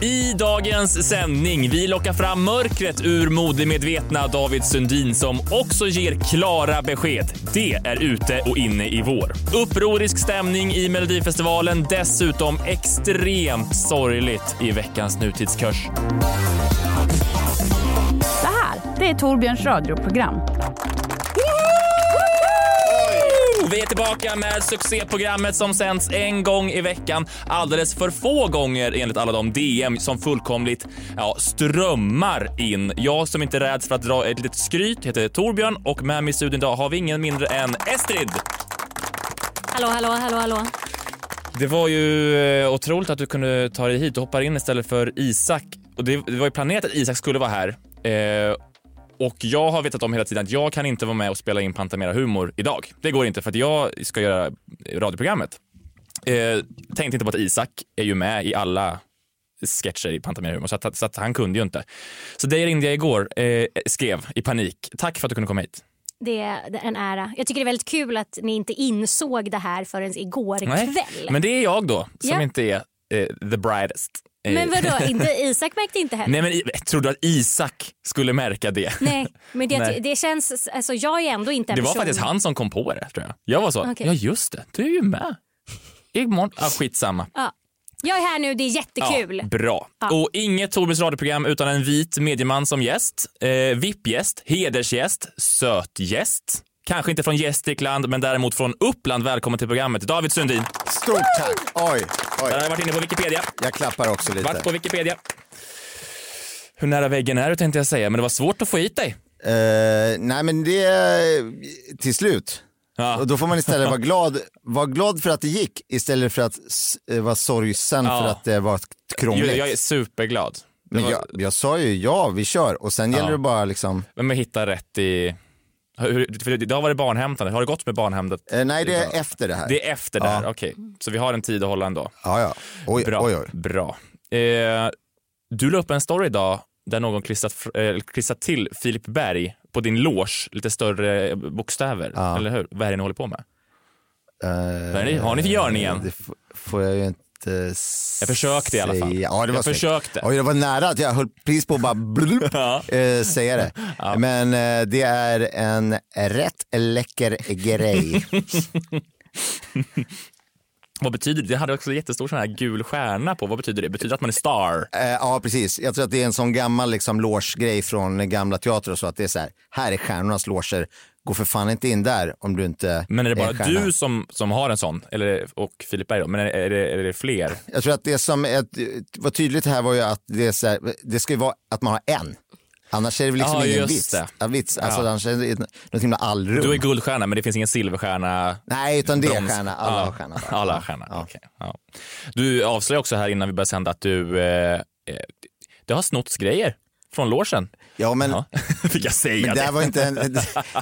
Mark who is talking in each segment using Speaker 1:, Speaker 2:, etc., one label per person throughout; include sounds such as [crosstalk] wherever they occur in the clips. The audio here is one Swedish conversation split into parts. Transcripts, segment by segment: Speaker 1: I dagens sändning vi lockar fram mörkret ur modemedvetna David Sundin som också ger klara besked. Det är ute och inne i vår. Upprorisk stämning i Melodifestivalen, dessutom extremt sorgligt i veckans nutidskurs.
Speaker 2: Det här, det är Torbjörns radioprogram.
Speaker 1: Och Vi är tillbaka med succéprogrammet som sänds en gång i veckan. Alldeles för få gånger enligt alla de DM som fullkomligt ja, strömmar in. Jag som inte räds för att dra ett litet skryt heter Torbjörn och med mig i studion idag har vi ingen mindre än Estrid.
Speaker 3: Hallå, hallå, hallå, hallå.
Speaker 1: Det var ju eh, otroligt att du kunde ta dig hit. Du hoppar in istället för Isak. Och det, det var ju planerat att Isak skulle vara här. Eh, och jag har vetat om hela tiden att jag kan inte vara med och spela in Pantamera Humor idag. Det går inte för att jag ska göra radioprogrammet. Eh, tänkte inte på att Isak är ju med i alla sketcher i Pantamera Humor så, att, så att han kunde ju inte. Så dig ringde jag igår, eh, skrev i panik. Tack för att du kunde komma hit.
Speaker 3: Det är det är en ära. Jag tycker det är väldigt kul att ni inte insåg det här förrän igår kväll. Men,
Speaker 1: Men det är jag då, som
Speaker 3: Ja.
Speaker 1: inte är eh, the brightest. Eh,
Speaker 3: vadå, inte,
Speaker 1: [laughs]
Speaker 3: Isak märkte inte heller?
Speaker 1: Nej men i- tror du att Isak skulle märka det?
Speaker 3: [laughs] Nej, men det,
Speaker 1: Nej.
Speaker 3: det känns... Alltså, jag är ändå inte en
Speaker 1: Det var
Speaker 3: person...
Speaker 1: faktiskt han som kom på det tror jag. Jag var så,
Speaker 3: Okej.
Speaker 1: ja just det, du är ju med. Imorgon, ah, skitsamma.
Speaker 3: Ja. Jag är här nu, det är jättekul.
Speaker 1: Ja, bra. Och inget Torbjörns radioprogram utan en vit medieman som gäst. Eh, VIP-gäst, hedersgäst, söt gäst. Kanske inte från Gästrikland men däremot från Uppland. Välkommen till programmet David Sundin.
Speaker 4: Stort tack! Oj,
Speaker 1: Där har
Speaker 4: oj.
Speaker 1: jag varit inne på Wikipedia.
Speaker 4: Jag klappar också lite.
Speaker 1: Vart på Wikipedia. Hur nära väggen är du tänkte jag säga men det var svårt att få hit dig.
Speaker 4: Eh, nej men det, eh, till slut.
Speaker 1: Ja.
Speaker 4: Och då får man istället vara glad, var glad för att det gick istället för att s- eh, vara sorgsen
Speaker 1: Ja.
Speaker 4: för att det var krångligt.
Speaker 1: Jag, jag är superglad. Det
Speaker 4: men
Speaker 1: var-
Speaker 4: jag, jag sa ju ja, vi kör och sen gäller det bara liksom,
Speaker 1: Men man hittar rätt i... Hur, för idag var det barnhämtande. Har det gått med barnhämtandet?
Speaker 4: eh, nej det är efter det här.
Speaker 1: Det är efter det här, okej. Så vi har en tid att hålla ändå.
Speaker 4: Ja, ja. Oj,
Speaker 1: Bra.
Speaker 4: oj, oj.
Speaker 1: Bra. Eh, du la upp en story idag där någon klistrat, fr- eh, klistrat till Filip Berg på din loge, lite större bokstäver. Eller hur? Vad är det ni håller på med?
Speaker 4: Eh,
Speaker 1: Vad är det- har ni för görningen?
Speaker 4: Det f- får jag ju inte s-
Speaker 1: Jag försökte i alla fall.
Speaker 4: säga. Ja, det var
Speaker 1: Jag
Speaker 4: snyggt.
Speaker 1: försökte.
Speaker 4: Oj, det var nära att jag höll pris på att
Speaker 1: [laughs]
Speaker 4: bara blub, eh, säga det. Men eh, det är en rätt läcker
Speaker 1: [laughs]
Speaker 4: grej.
Speaker 1: Vad betyder det? Det hade också en jättestor sån här gul stjärna på. Vad betyder det? Betyder det att man är star?
Speaker 4: Eh, ja, precis. Jag tror att det är en sån gammal liksom, loge-grej från gamla teater och så. Att det är så här, här är stjärnornas loger. Gå för fan inte in där om du inte
Speaker 1: Men är det bara
Speaker 4: stjärna.
Speaker 1: du som, som har en sån? Eller, och Filip Berg då? Men är, är, det, är det fler?
Speaker 4: Jag tror att det som är, var tydligt här var ju att det, är så här, det ska ju vara att man har en. Annars är det väl liksom
Speaker 1: Ja,
Speaker 4: ingen
Speaker 1: just
Speaker 4: vits.
Speaker 1: det.
Speaker 4: Ja, vits. Alltså,
Speaker 1: Ja.
Speaker 4: Annars är det något himla allrum.
Speaker 1: Du är guldstjärna men det finns ingen silverstjärna?
Speaker 4: Nej, utan det är
Speaker 1: Brons.
Speaker 4: stjärna. Alla
Speaker 1: Ja.
Speaker 4: har stjärna. bara.
Speaker 1: Alla har stjärna. okej. Ja. Du avslöjar också här innan vi börjar sända att du, eh, eh, det har snotts grejer från logen.
Speaker 4: Ja, men
Speaker 1: Ja. [laughs] Fick jag säga
Speaker 4: men det
Speaker 1: det?
Speaker 4: där var
Speaker 1: [laughs]
Speaker 4: inte en,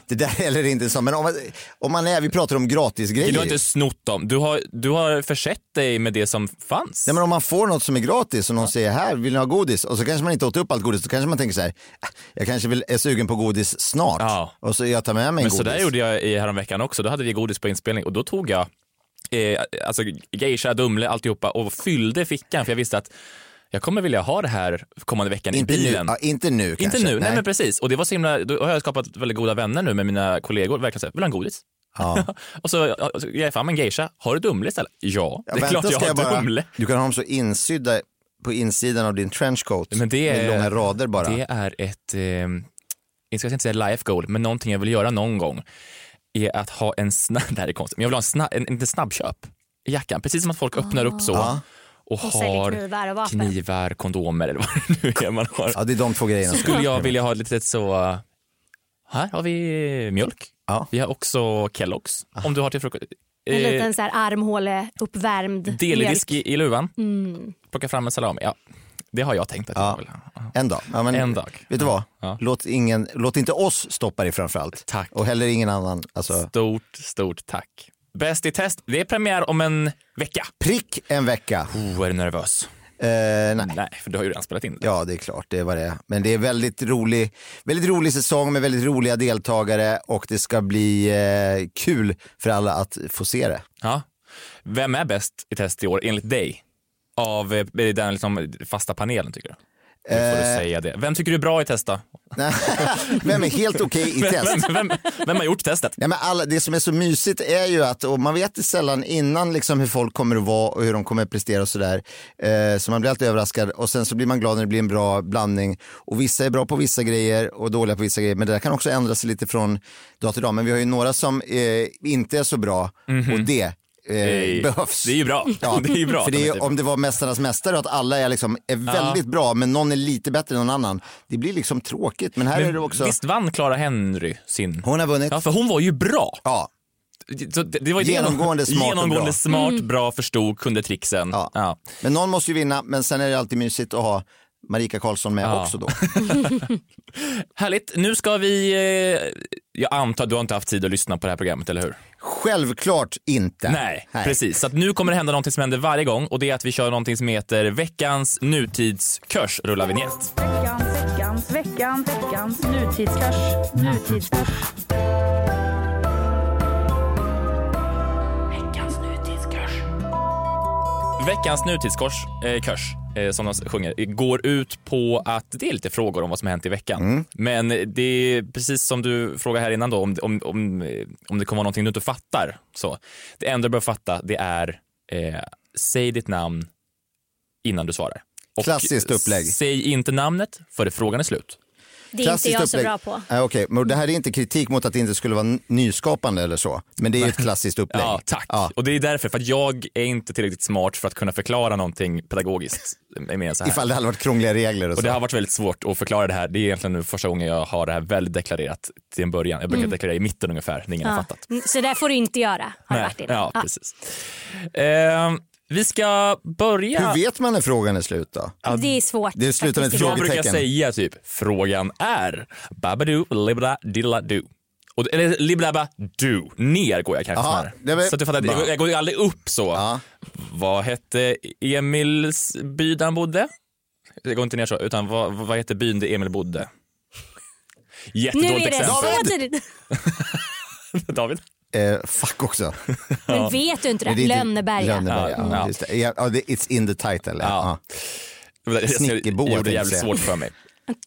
Speaker 4: det där heller inte så. Men om man, om man är, vi pratar om gratisgrejer.
Speaker 1: Du har inte snott dem. Du har, du har försett dig med det som fanns.
Speaker 4: Nej, men om man får något som är gratis och någon säger här, vill ni ha godis? Och så kanske man inte åt upp allt godis. Då kanske man tänker så här, "Ah, jag kanske vill, är sugen på godis snart.
Speaker 1: Ja.
Speaker 4: Och så jag tar med mig en
Speaker 1: Men
Speaker 4: godis.
Speaker 1: så där gjorde jag i häromveckan också. Då hade vi godis på inspelning och då tog jag eh, alltså geisha, Dumle, alltihopa och fyllde fickan för jag visste att jag kommer vilja ha det här kommande veckan
Speaker 4: inte
Speaker 1: i
Speaker 4: nu,
Speaker 1: bilen.
Speaker 4: ja, inte nu kanske.
Speaker 1: Inte nu, nej. men precis. Och det var så himla, då har jag skapat väldigt goda vänner nu med mina kollegor. Verkligen såhär, vill du ha en godis?
Speaker 4: Ja.
Speaker 1: [laughs] och så ja, så ger jag fram en geisha. Har du Dumle istället? Ja,
Speaker 4: Ja,
Speaker 1: det är
Speaker 4: vänta,
Speaker 1: klart jag
Speaker 4: ska
Speaker 1: har Dumle.
Speaker 4: Du kan ha dem så insydda på insidan av din trenchcoat.
Speaker 1: Men det är,
Speaker 4: med långa rader bara.
Speaker 1: Det är ett, eh, jag ska inte säga life goal, men någonting jag vill göra någon gång är att ha en snabb, [laughs] det här är konstigt, men jag vill ha en, snabb, en, en snabbköp i jackan. Precis som att folk öppnar upp så
Speaker 4: Ah.
Speaker 1: och,
Speaker 3: Och säljer
Speaker 1: har
Speaker 3: knivar och vapen.
Speaker 1: knivar, kondomer eller vad det nu är man har.
Speaker 4: Ja, det är de två grejerna.
Speaker 1: Så skulle jag vilja ha ett litet så, här har vi mjölk,
Speaker 4: Ja. Ah.
Speaker 1: vi har också Kelloggs om du har till frukost.
Speaker 3: En
Speaker 1: Eh,
Speaker 3: liten så här armhåleuppvärmd
Speaker 1: Deldisk
Speaker 3: mjölk. Mm.
Speaker 1: i, i luvan. Plocka fram en salami. Ja. Det har jag tänkt att
Speaker 4: Ja.
Speaker 1: jag vill ha. Ja.
Speaker 4: En dag. Ja, men,
Speaker 1: En dag.
Speaker 4: Vet du vad?
Speaker 1: Ja.
Speaker 4: Låt, ingen, låt inte oss stoppa dig framförallt.
Speaker 1: Tack.
Speaker 4: Och heller ingen annan. Alltså,
Speaker 1: Stort, stort tack. Bäst i test, det är premiär om en vecka.
Speaker 4: prick en vecka.
Speaker 1: Oh, är du nervös?
Speaker 4: Eh, nej.
Speaker 1: Nej, för du har ju redan spelat in det.
Speaker 4: Ja, det är klart, det var det. Men det är väldigt rolig, väldigt rolig säsong med väldigt roliga deltagare och det ska bli eh, kul för alla att få se det.
Speaker 1: Ja. Vem är bäst i test i år, enligt dig? Av eh, den liksom fasta panelen, tycker du? Nu får
Speaker 4: Eh.
Speaker 1: du säga det. Vem tycker du är bra i testa?
Speaker 4: [laughs] Vem är helt okej i test?
Speaker 1: Vem, vem, vem har gjort testet?
Speaker 4: Nej, men alla, det som är så mysigt är ju att, och man vet sällan innan liksom hur folk kommer att vara och hur de kommer att prestera och sådär. Eh, så man blir alltid överraskad och sen så blir man glad när det blir en bra blandning. Och vissa är bra på vissa grejer och dåliga på vissa grejer. Men det där kan också ändra sig lite från dag till dag. Men vi har ju några som eh, inte är så bra och det eh,
Speaker 1: är-
Speaker 4: behövs.
Speaker 1: Mhm. det är ju [laughs] bra. Det är ju bra
Speaker 4: För
Speaker 1: att
Speaker 4: det
Speaker 1: de inte
Speaker 4: är, ju-
Speaker 1: är typ- bra.
Speaker 4: om det var Mästarnas mästare och att alla är, liksom, är väldigt bra men någon är lite bättre än någon annan. Det blir liksom tråkigt. Men här är det också,
Speaker 1: Visst vann Clara Henry sin?
Speaker 4: hon har vunnit.
Speaker 1: Ja, för hon var ju bra.
Speaker 4: Ja.
Speaker 1: Så det, det var ju det-
Speaker 4: Genomgående smart och
Speaker 1: Genomgående
Speaker 4: bra.
Speaker 1: smart, bra, förstod, kunde tricksen.
Speaker 4: Ja.
Speaker 1: Ja.
Speaker 4: Men någon måste ju vinna, men sen är det alltid mysigt att ha Marika Karlsson med också då.
Speaker 1: Härligt. Nu ska vi... Eh, jag antar att du har inte haft tid att lyssna på det här programmet, eller hur?
Speaker 4: Självklart inte.
Speaker 1: Nej, precis. Så att nu kommer det hända någonting som händer varje gång och det är att vi kör någonting som heter veckans nutidskurs. Rulla vignett.
Speaker 2: Veckans, veckans, veckans, veckans nutidskurs. Nutidskurs. Veckans nutidskurs.
Speaker 1: Veckans nutidskurs, eh, kurs, eh, som de sjunger, eh, går ut på att det är lite frågor om vad som har hänt i veckan.
Speaker 4: Mm.
Speaker 1: Men det är precis som du frågade här innan då, om, om, om, eh, om det kommer vara någonting du inte fattar. Så. Det enda du behöver fatta det är, eh, säg ditt namn innan du svarar. Och
Speaker 4: Klassiskt upplägg.
Speaker 1: Säg inte namnet före frågan är slut.
Speaker 3: Det är inte jag så bra på.
Speaker 4: Nej, okej. Men det här är inte kritik mot att det inte skulle vara n- nyskapande eller så, men det är ju ett klassiskt upplägg.
Speaker 1: Ja, tack.
Speaker 4: Ja.
Speaker 1: Och det är därför, för att jag är inte tillräckligt smart för att kunna förklara någonting pedagogiskt. Jag menar så här.
Speaker 4: Ifall det hade varit krångliga regler och så.
Speaker 1: Och det har varit väldigt svårt att förklara det här. Det är egentligen nu första gången jag har det här väldigt deklarerat till en början. Jag brukar deklarera i mitten ungefär, när ingen har
Speaker 3: Mm. Ja.
Speaker 1: fattat.
Speaker 3: Mm, Så där får du inte göra. Har det varit innan.
Speaker 1: ja,
Speaker 3: Ja.
Speaker 1: precis. Eh, vi ska börja...
Speaker 4: Hur vet man när frågan är slut då?
Speaker 3: Det är svårt.
Speaker 4: Det
Speaker 3: faktiskt
Speaker 4: slutar med ett
Speaker 1: Jag
Speaker 3: ibland.
Speaker 1: brukar
Speaker 4: Frågetecken.
Speaker 1: säga typ, frågan är babadoo, libda, dilla, do. Och, eller libdabba, do. Ner går jag kanske
Speaker 4: Jaha,
Speaker 1: snarare.
Speaker 4: det var-
Speaker 1: Så att du fattar,
Speaker 4: bra.
Speaker 1: jag, jag går ju aldrig upp så.
Speaker 4: Ja.
Speaker 1: Vad hette Emils by där han bodde? Jag går inte ner så, utan vad, vad hette byn där Emil bodde?
Speaker 3: Nu
Speaker 1: Jättedåligt
Speaker 3: är det
Speaker 1: exempel.
Speaker 3: så tidigt.
Speaker 1: [laughs] David?
Speaker 4: Eh,
Speaker 1: [laughs]
Speaker 4: fuck också.
Speaker 3: Men vet du inte
Speaker 4: Men
Speaker 3: det?
Speaker 4: inte-
Speaker 3: Lönneberga.
Speaker 4: Lönneberga, ja.
Speaker 1: Ja.
Speaker 4: Just det. Ja, ja, det- it's in the title. Ja. Snickerboa,
Speaker 1: Jag gjorde det
Speaker 4: tänkte jag
Speaker 1: jävligt
Speaker 4: säga.
Speaker 1: svårt för mig.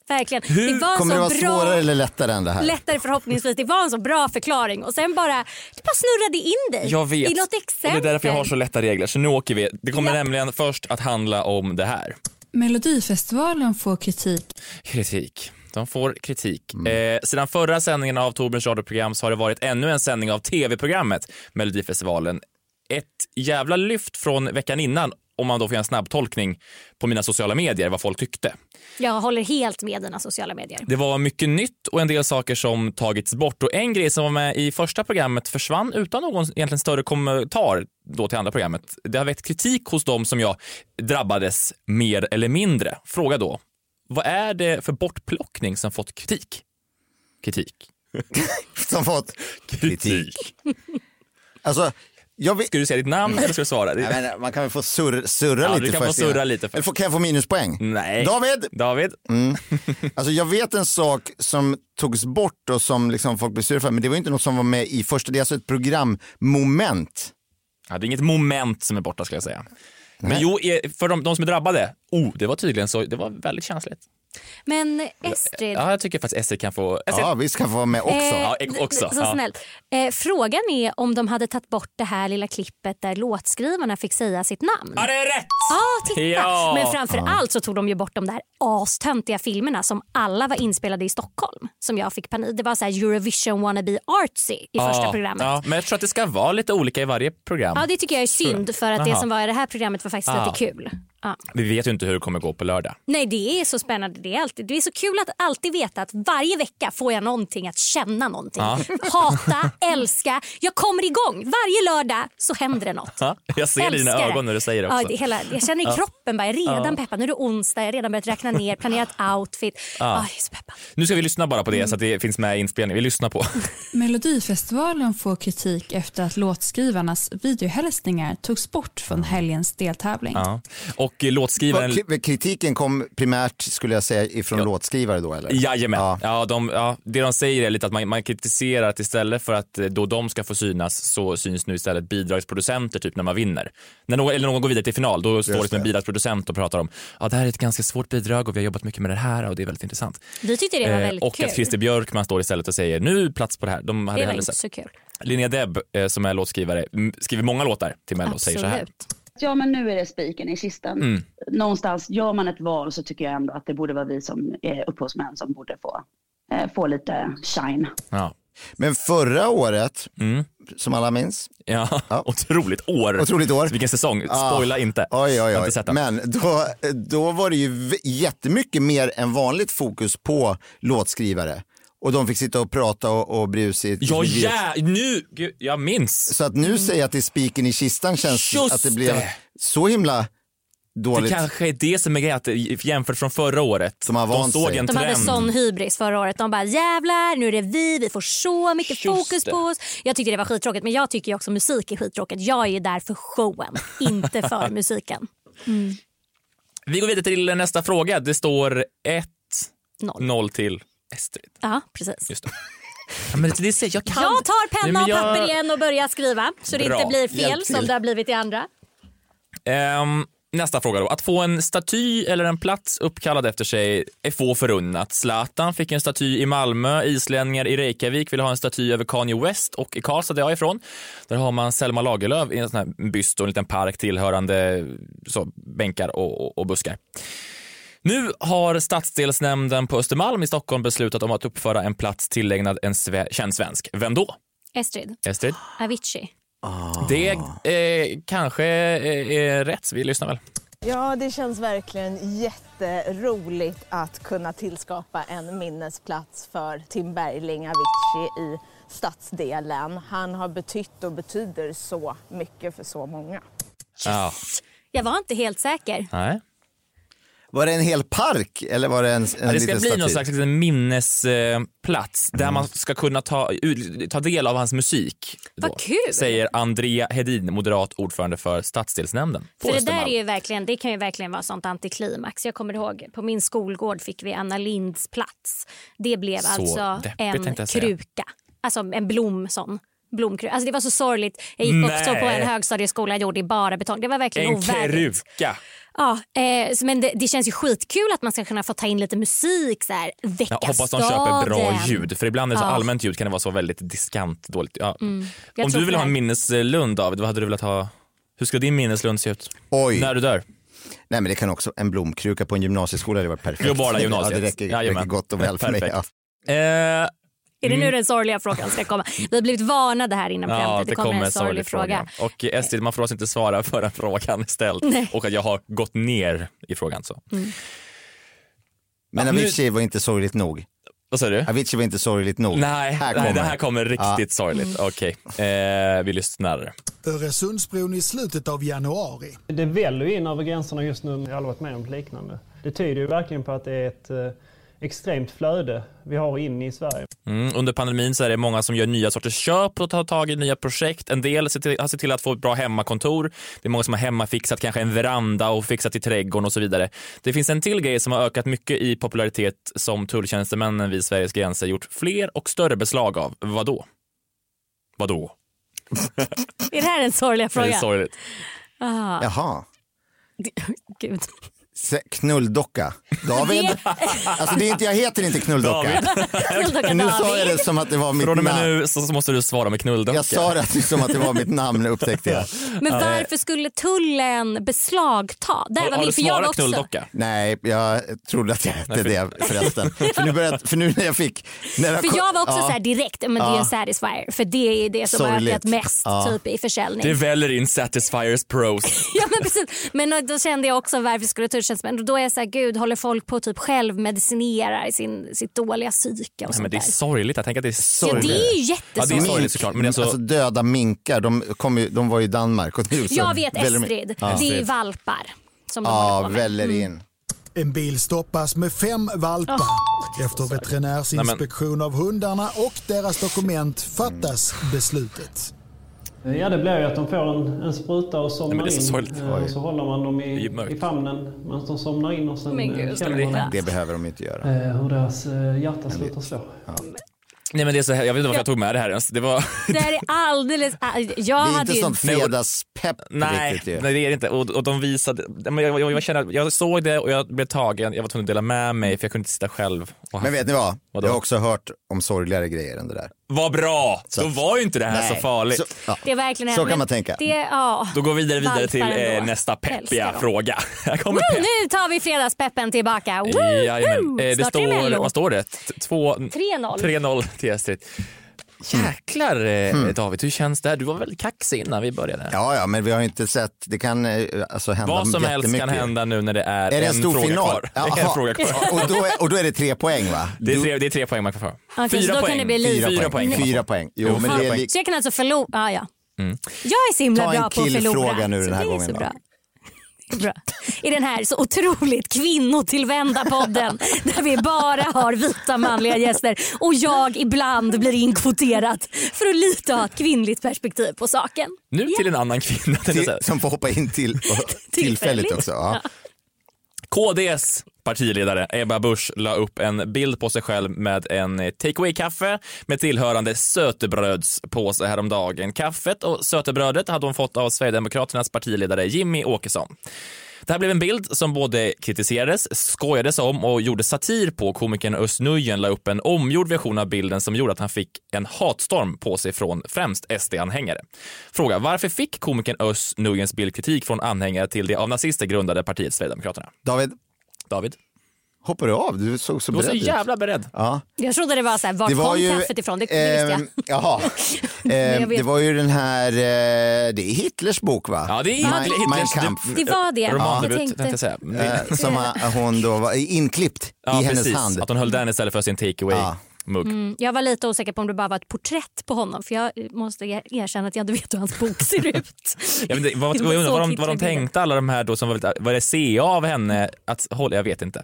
Speaker 3: Verkligen.
Speaker 1: Hur
Speaker 3: det var en
Speaker 4: Kommer det
Speaker 3: så
Speaker 4: vara
Speaker 3: bra...
Speaker 4: svårare eller lättare än det här?
Speaker 3: lättare förhoppningsvis. Det var en så bra förklaring och sen bara, du bara snurrade in dig
Speaker 1: Jag vet.
Speaker 3: i något exempel.
Speaker 1: Och det är därför jag har så lätta regler. Så nu åker vi. Det kommer
Speaker 3: Ja.
Speaker 1: nämligen först att handla om det här.
Speaker 5: Melodifestivalen får kritik.
Speaker 1: Kritik. De får kritik. Eh, sedan förra sändningen av Torbjörns radioprogram så har det varit ännu en sändning av tv-programmet Melodifestivalen. Ett jävla lyft från veckan innan om man då får göra en snabbtolkning på mina sociala medier vad folk tyckte.
Speaker 3: Jag håller helt med dina sociala medier.
Speaker 1: Det var mycket nytt och en del saker som tagits bort. Och en grej som var med i första programmet försvann utan någon egentligen större kommentar då till andra programmet. Det har väckt kritik hos dem som jag drabbades mer eller mindre. Fråga då, vad är det för bortplockning som fått kritik? Kritik.
Speaker 4: Som fått kritik. Alltså, jag vet,
Speaker 1: Ska du säga ditt namn eller ska du svara?
Speaker 4: [laughs] Nej, men man kan väl få surr, surra
Speaker 1: Ja,
Speaker 4: lite
Speaker 1: du kan få
Speaker 4: först innan.
Speaker 1: surra lite först.
Speaker 4: Eller får- Kan jag få minuspoäng?
Speaker 1: Nej. [laughs]
Speaker 4: David!
Speaker 1: David?
Speaker 4: Alltså jag vet en sak som togs bort och som liksom folk blev sura för, men det var ju inte något som var med i första, det är alltså ett programmoment.
Speaker 1: Ja, det är inget moment som är borta ska jag säga. Men jo, eh, för de, de som är drabbade, oh, det var tydligen så, det var väldigt känsligt.
Speaker 3: Men Estrid,
Speaker 1: Ja, jag tycker faktiskt Estrid kan få... Estrid,
Speaker 4: Ja, visst kan få vara med också.
Speaker 3: Eh.
Speaker 1: ja, ek- också,
Speaker 3: så
Speaker 1: ja.
Speaker 3: snällt. Eh, frågan är om de hade tagit bort det här lilla klippet där låtskrivarna fick säga sitt namn.
Speaker 1: ja, det är rätt!
Speaker 3: Ah, titta.
Speaker 1: Ja.
Speaker 3: Men framför allt så tog de ju bort de där astöntiga filmerna som alla var inspelade i Stockholm. Som jag fick panik. Det var så här Eurovision wannabe artsy i första programmet.
Speaker 1: Ja, men jag tror att det ska vara lite olika i varje program.
Speaker 3: Ja, det tycker jag är synd för att det
Speaker 1: Aha.
Speaker 3: som var i det här programmet var faktiskt
Speaker 1: Ah.
Speaker 3: lite kul. Ja.
Speaker 1: Vi vet ju inte hur det kommer gå på lördag.
Speaker 3: Nej, det är så spännande. Det är, alltid, det är så kul att alltid veta att varje vecka får jag någonting att känna någonting.
Speaker 1: Ja.
Speaker 3: Hata, älska. Jag kommer igång. Varje lördag så händer det något.
Speaker 1: Ja, jag Ah. ser det i dina
Speaker 3: Älskar
Speaker 1: ögon när du säger det
Speaker 3: Ja,
Speaker 1: också. Ah.
Speaker 3: det hela, jag känner i kroppen bara, jag är redan peppad. Nu är det onsdag, jag har redan börjat räkna ner, planerat outfit.
Speaker 1: Ah.
Speaker 3: Ja. jag är så peppad.
Speaker 1: Nu ska vi lyssna bara på det så att
Speaker 3: Mm.
Speaker 1: det finns med i inspelningen. Vi lyssnar
Speaker 3: [laughs]
Speaker 1: på.
Speaker 5: Melodifestivalen får kritik efter att låtskrivarnas videohälsningar togs bort från helgens deltävling.
Speaker 1: Ja. Och eh, låtskrivaren...
Speaker 4: Vad- k- Kritiken kom primärt skulle jag säga ifrån låtskrivare då eller?
Speaker 1: Jajamän. Ja.
Speaker 4: Ja.
Speaker 1: de, ja, det de säger är lite att man, man kritiserar att istället för att eh, då de ska få synas så syns nu istället bidragsproducenter typ när man vinner. När någon, eller någon går vidare till final då står det som en
Speaker 4: det.
Speaker 1: bidragsproducent och pratar om ja, det här är ett ganska svårt bidrag och vi har jobbat mycket med det här och det är väldigt intressant.
Speaker 3: Vi tyckte det var
Speaker 1: Eh,
Speaker 3: väldigt
Speaker 1: och
Speaker 3: kul.
Speaker 1: att Christer Björkman står istället och säger nu plats på det här. De hade
Speaker 3: det var
Speaker 1: hellre
Speaker 3: inte
Speaker 1: sett.
Speaker 3: så kul.
Speaker 1: Linnea Deb eh, som är låtskrivare m- skriver många låtar till Mello och säger så här.
Speaker 3: Absolut.
Speaker 6: Ja, men nu är det spiken i kistan. Någonstans gör man ett val så tycker jag ändå att det borde vara vi som är upphovsmän som borde få, eh, få lite shine.
Speaker 1: Ja.
Speaker 4: Men förra året,
Speaker 1: Mm.
Speaker 4: som alla minns,
Speaker 1: Ja, [laughs] otroligt år.
Speaker 4: otroligt år. Ah.
Speaker 1: Vilken säsong. Spoila inte.
Speaker 4: Oj,
Speaker 1: Jag har
Speaker 4: oj,
Speaker 1: inte sett
Speaker 4: oj.
Speaker 1: den.
Speaker 4: Men då, då var det ju v- jättemycket mer än vanligt fokus på låtskrivare. Och de fick sitta och prata och, och bry sig.
Speaker 1: Ja, ja, nu, gud, jag minns.
Speaker 4: Så att nu säga att det är spiken i kistan känns
Speaker 1: Just
Speaker 4: att det blev
Speaker 1: det.
Speaker 4: så himla
Speaker 1: Det
Speaker 4: dåligt.
Speaker 1: kanske är det som är grejen, att det- jämfört från förra året.
Speaker 4: De har
Speaker 1: de
Speaker 4: vant
Speaker 1: såg
Speaker 4: sig.
Speaker 1: en
Speaker 3: De hade
Speaker 1: trend.
Speaker 3: sån hybris förra året. De bara jävlar, nu är det vi, vi får så mycket
Speaker 1: Just
Speaker 3: fokus
Speaker 1: det.
Speaker 3: på oss. Jag tyckte det var skittråkigt, men jag tycker ju också musik är skittråkigt. Jag är ju där för showen, inte
Speaker 1: [laughs]
Speaker 3: för musiken.
Speaker 1: Vi går vidare till nästa fråga. Det står 1-0
Speaker 3: Noll.
Speaker 1: till Estrid.
Speaker 3: Ja, precis. [laughs]
Speaker 1: Just det. Ja, men det, det, ser- jag, kan.
Speaker 3: Jag tar
Speaker 1: Nej,
Speaker 3: penna
Speaker 1: men
Speaker 3: och
Speaker 1: jag-
Speaker 3: papper igen och börjar skriva så det
Speaker 1: Bra.
Speaker 3: inte blir fel
Speaker 4: Hjälp till.
Speaker 3: som det har blivit i andra.
Speaker 1: Ehm, nästa fråga då. Att få en staty eller en plats uppkallad efter sig är få förunnat. Zlatan fick en staty i Malmö, islänningar i Reykjavik vill ha en staty över Kanye West och i Karlstad där jag är ifrån, där har man Selma Lagerlöf i en sån här byst och en liten park tillhörande så, bänkar och, och, och buskar. Nu har stadsdelsnämnden på Östermalm i Stockholm beslutat om att uppföra en plats tillägnad en sve- känd svensk. Vem då?
Speaker 3: Estrid,
Speaker 1: Estrid?
Speaker 3: Avicii.
Speaker 1: Det eh, kanske eh, är rätt. Vi lyssnar väl.
Speaker 7: Ja, det känns verkligen jätteroligt att kunna tillskapa en minnesplats för Tim Bergling Avicii i stadsdelen. Han har betytt och betyder så mycket för så många.
Speaker 1: Ja.
Speaker 3: Jag var inte helt säker.
Speaker 1: Nej.
Speaker 4: Var det en hel park eller var det en, en
Speaker 1: Ja, det ska
Speaker 4: liten
Speaker 1: bli någon
Speaker 4: staty?
Speaker 1: slags liten minnesplats där man ska kunna ta, ut- ta del av hans musik. då,
Speaker 3: Vad kul!
Speaker 1: Säger Andrea Hedin, moderat ordförande för stadsdelsnämnden. på
Speaker 3: För det
Speaker 1: Östermalm.
Speaker 3: där är ju verkligen, det kan ju verkligen vara sånt antiklimax. Jag kommer ihåg, på min skolgård fick vi Anna Linds plats. Det blev
Speaker 1: Så
Speaker 3: alltså
Speaker 1: deppigt,
Speaker 3: en
Speaker 1: tänkte jag säga.
Speaker 3: kruka. Alltså en blom sån. Blomkruka. Alltså det var så sorgligt. Jag gick också
Speaker 1: Nej.
Speaker 3: på en högstadieskola gjord i bara betong. Det var verkligen
Speaker 1: En
Speaker 3: ovärdigt.
Speaker 1: kruka.
Speaker 3: Ja, eh, så- men det, det känns ju skitkul att man ska kunna få ta in lite musik. Så här, väcka
Speaker 1: Jag hoppas de köper bra
Speaker 3: staden.
Speaker 1: ljud, för ibland är det så
Speaker 3: Ja. Mm.
Speaker 1: allmänt ljud kan det vara så väldigt diskant dåligt. Ja.
Speaker 3: Jag
Speaker 1: Om
Speaker 3: tror
Speaker 1: du vill
Speaker 3: på
Speaker 1: ha
Speaker 3: det.
Speaker 1: en minneslund David, vad hade du velat ha? Hur ska din minneslund se ut?
Speaker 4: Oj,
Speaker 1: När du dör?
Speaker 4: nej men det kan också, en blomkruka på en gymnasieskola hade varit perfekt.
Speaker 1: Globala gymnasiet.
Speaker 4: Ja, det räcker,
Speaker 1: Jajamän.
Speaker 4: räcker gott och väl för mig.
Speaker 1: Perfekt.
Speaker 4: Ja.
Speaker 1: Eh,
Speaker 3: Är det nu den sorgliga frågan ska komma? Vi har blivit varnade här innan programmet.
Speaker 1: Ja,
Speaker 3: att det, kommer en sorglig fråga.
Speaker 1: Och eh, Estrid, man får alltså inte svara [laughs] förrän frågan är ställd och att jag har gått ner i frågan. Så.
Speaker 3: Mm.
Speaker 4: Men
Speaker 1: Ja, nu-
Speaker 4: Avicii var inte sorgligt nog.
Speaker 1: Vad säger du?
Speaker 4: Avicii var inte sorgligt nog.
Speaker 1: Nej,
Speaker 4: här
Speaker 1: nej,
Speaker 4: kommer
Speaker 1: det här kommer riktigt sorgligt. Okej,
Speaker 3: Mm.
Speaker 1: eh, vi lyssnar.
Speaker 8: Öresundsbron i slutet av januari.
Speaker 7: Det väller in över gränserna just nu. Jag har aldrig varit med om liknande. Det tyder ju verkligen på att det är ett eh, extremt flöde vi har in i Sverige.
Speaker 1: Mm, under pandemin så är det många som gör nya sorters köp och tar tag i nya projekt. En del ser till, har sett till att få ett bra hemmakontor. Det är många som har hemmafixat kanske en veranda och fixat i trädgården och så vidare. Det finns en till grej som har ökat mycket i popularitet som tulltjänstemännen vid Sveriges gränser gjort fler och större beslag av. Vadå? Vadå?
Speaker 3: Är det här den sorgliga
Speaker 1: Det är
Speaker 3: frågan?
Speaker 1: sorgligt.
Speaker 4: Jaha.
Speaker 3: [laughs]
Speaker 1: [laughs]
Speaker 3: Gud.
Speaker 4: Se- Knulldocka. David? alltså det är inte, jag heter inte Knulldocka. Men nu sa jag det som att det var mitt
Speaker 1: Från och
Speaker 4: namn.
Speaker 1: med nu så måste du svara med knulldocka.
Speaker 4: Jag sa det som att det var mitt namn upptäckte jag.
Speaker 3: Men varför skulle tullen beslagta? Där var min, för jag var också...
Speaker 4: Nej, jag trodde att jag hette det förresten. för, nu började, för nu när jag fick... När jag
Speaker 3: För
Speaker 4: kom-
Speaker 3: jag var också
Speaker 4: Ja.
Speaker 3: så här direkt, men det är en Satisfyer för det är det som har
Speaker 1: Sorgligt.
Speaker 3: ökat mest
Speaker 1: Ja.
Speaker 3: typ i försäljning.
Speaker 1: Det väller in Satisfiers pros.
Speaker 3: [laughs] Ja men precis. Men då kände jag också varför skulle tulltjänstemän... Och Då är jag så här, gud håller folk på att typ självmedicinera i sin, sitt dåliga psyke
Speaker 1: Nej,
Speaker 3: och
Speaker 1: men
Speaker 3: sånt
Speaker 1: det är
Speaker 3: där.
Speaker 1: sorgligt, jag tänker att det är
Speaker 3: Ja,
Speaker 1: sorgligt.
Speaker 3: det är ju
Speaker 1: Ja, det är
Speaker 3: jättesorgligt.
Speaker 1: sorgligt såklart. Men
Speaker 4: alltså...
Speaker 1: alltså,
Speaker 4: döda minkar, de, kom ju, de var ju i Danmark. Och nu, så
Speaker 3: jag vet
Speaker 4: väller de-
Speaker 3: Estrid, Mm.
Speaker 4: Ja.
Speaker 3: det är valpar som de
Speaker 4: Ja,
Speaker 3: håller på med.
Speaker 4: väller in.
Speaker 8: En bil stoppas med fem valpar. Efter veterinärsinspektion av hundarna och deras dokument fattas beslutet.
Speaker 9: Ja, det blir ju att de får en, en spruta och
Speaker 8: Nej,
Speaker 9: somnar
Speaker 8: men det är så sorgligt.
Speaker 9: in. Eh, Och så håller man dem
Speaker 4: Det är ju
Speaker 9: i,
Speaker 4: mörkt.
Speaker 9: i famnen medan de somnar in och
Speaker 3: Oh
Speaker 9: sen eh, känner man
Speaker 4: det, behöver de inte göra.
Speaker 9: eh, hur deras eh, hjärta slutar slå.
Speaker 1: nej, men det är så här, jag vet inte varför jag tog med det här ens. Det
Speaker 3: [laughs]
Speaker 1: var...
Speaker 3: Det här är alldeles... Jag hade ju...
Speaker 4: fredagspepp
Speaker 1: nej,
Speaker 4: riktigt ju.
Speaker 1: Nej, det är det inte. Och, och de visade, men jag, jag, jag, känner, jag såg det och jag blev tagen. Jag var tvungen att dela med mig för jag kunde inte sitta själv. Och-
Speaker 4: Men vet ni vad?
Speaker 1: Vadå?
Speaker 4: Jag har också hört om sorgligare grejer än det där.
Speaker 1: Vad bra! Då var ju inte det här
Speaker 4: Nej.
Speaker 1: så Alltså, farligt.
Speaker 4: Så- ja.
Speaker 3: Det är verkligen
Speaker 4: Så
Speaker 3: men
Speaker 4: kan man tänka.
Speaker 3: Det, ja.
Speaker 1: Då går vi vidare, vidare till
Speaker 3: Valpar ändå.
Speaker 1: eh, nästa
Speaker 3: Älskar
Speaker 1: peppiga
Speaker 3: dem.
Speaker 1: fråga. [laughs] Här kommer
Speaker 3: Woo,
Speaker 1: pepp.
Speaker 3: nu tar vi fredagspeppen tillbaka. Woo,
Speaker 1: Eh, Jajamän.
Speaker 3: woo.
Speaker 1: Eh, Det
Speaker 3: Snart är det
Speaker 1: står,
Speaker 3: Mello.
Speaker 1: vad står det? T- två-
Speaker 3: 3-0.
Speaker 1: 3-0 till Estrid.
Speaker 4: Mm.
Speaker 1: Jäklar eh, David, hur känns det här? Du var väldigt kaxig innan vi började.
Speaker 4: Ja, ja, men vi har ju inte sett. Det kan eh, alltså hända
Speaker 1: Vad som helst
Speaker 4: jättemycket.
Speaker 1: kan hända nu när det är,
Speaker 4: Är det en
Speaker 1: en,
Speaker 4: stor
Speaker 1: fråga
Speaker 4: final?
Speaker 1: kvar. Det är [laughs] en
Speaker 4: Jaha.
Speaker 1: fråga kvar.
Speaker 4: Och då, är, och då är det tre poäng va?
Speaker 1: Det är tre, det är tre poäng man kan få.
Speaker 3: Okej, så då kan det bli lite-
Speaker 4: Fyra
Speaker 3: Fyra
Speaker 4: poäng.
Speaker 3: poäng.
Speaker 4: Fyra poäng. Jo,
Speaker 1: Jo,
Speaker 4: men det är
Speaker 1: fyra
Speaker 4: li-
Speaker 3: Så jag kan alltså förlora. Ja, ja.
Speaker 1: Mm.
Speaker 3: Jag är så himla
Speaker 4: Ta en
Speaker 3: bra på att förlora.
Speaker 4: killfråga nu
Speaker 3: så
Speaker 4: den här
Speaker 3: det är
Speaker 4: gången
Speaker 3: Så
Speaker 4: då.
Speaker 3: bra. Det är bra. I den här så otroligt kvinnotillvända podden där vi bara har vita manliga gäster och jag ibland blir inkvoterad för att lite ha ett kvinnligt perspektiv på saken.
Speaker 1: Nu till en annan kvinna.
Speaker 4: Till, som får hoppa in
Speaker 1: [laughs]
Speaker 4: till, tillfälligt också. Ja.
Speaker 1: KDs partiledare Ebba Busch la upp en bild på sig själv med en eh, takeaway-kaffe med tillhörande sötebrödspåse häromdagen. Kaffet och sötebrödet hade hon fått av Sverigedemokraternas partiledare Jimmy Åkesson. Det här blev en bild som både kritiserades, skojades om och gjorde satir på. Komikern Özz Nujen la upp en omgjord version av bilden som gjorde att han fick en hatstorm på sig från främst SD-anhängare. Fråga, varför fick komikern Özz Nujens bild kritik från anhängare till det av nazister grundade partiet Sverigedemokraterna?
Speaker 4: David.
Speaker 1: David.
Speaker 4: Hoppar du av? Du såg så
Speaker 1: Du var
Speaker 4: beredd
Speaker 1: så
Speaker 4: ut.
Speaker 1: jävla beredd.
Speaker 4: Ja.
Speaker 3: Jag trodde det var så här, var
Speaker 4: Det var
Speaker 3: kom
Speaker 4: ju,
Speaker 3: kaffet ifrån? Det, det visste
Speaker 4: ehm,
Speaker 3: jag.
Speaker 4: Jaha.
Speaker 3: [laughs] Men jag
Speaker 4: Ehm,
Speaker 3: vet-
Speaker 4: det var ju den här, eh, det är Hitlers bok va?
Speaker 1: Ja, det är
Speaker 4: Mein-
Speaker 1: Hitler-
Speaker 4: Mein
Speaker 1: Hitlers-
Speaker 4: Kampf.
Speaker 3: det- det var det.
Speaker 1: Romandebut,
Speaker 3: Jag tänkte-
Speaker 1: tänkte jag säga. Men det-
Speaker 4: Eh,
Speaker 3: [laughs]
Speaker 4: som eh, hon då var inklippt
Speaker 1: Ja,
Speaker 4: i hennes
Speaker 1: precis.
Speaker 4: hand.
Speaker 1: Att hon höll den istället för sin takeaway-mugg.
Speaker 3: Mm, jag var lite osäker på om det bara var ett porträtt på honom för jag måste erkänna att jag inte vet hur hans bok
Speaker 1: [laughs]
Speaker 3: ser ut.
Speaker 1: Jag vet inte, vad,
Speaker 3: Det
Speaker 1: vad,
Speaker 3: var
Speaker 1: jag undrar vad, de,
Speaker 3: så
Speaker 1: vad de
Speaker 3: Hitlerbilden.
Speaker 1: tänkte alla de här då som var lite, var det CA av henne? Att, håll, jag vet inte.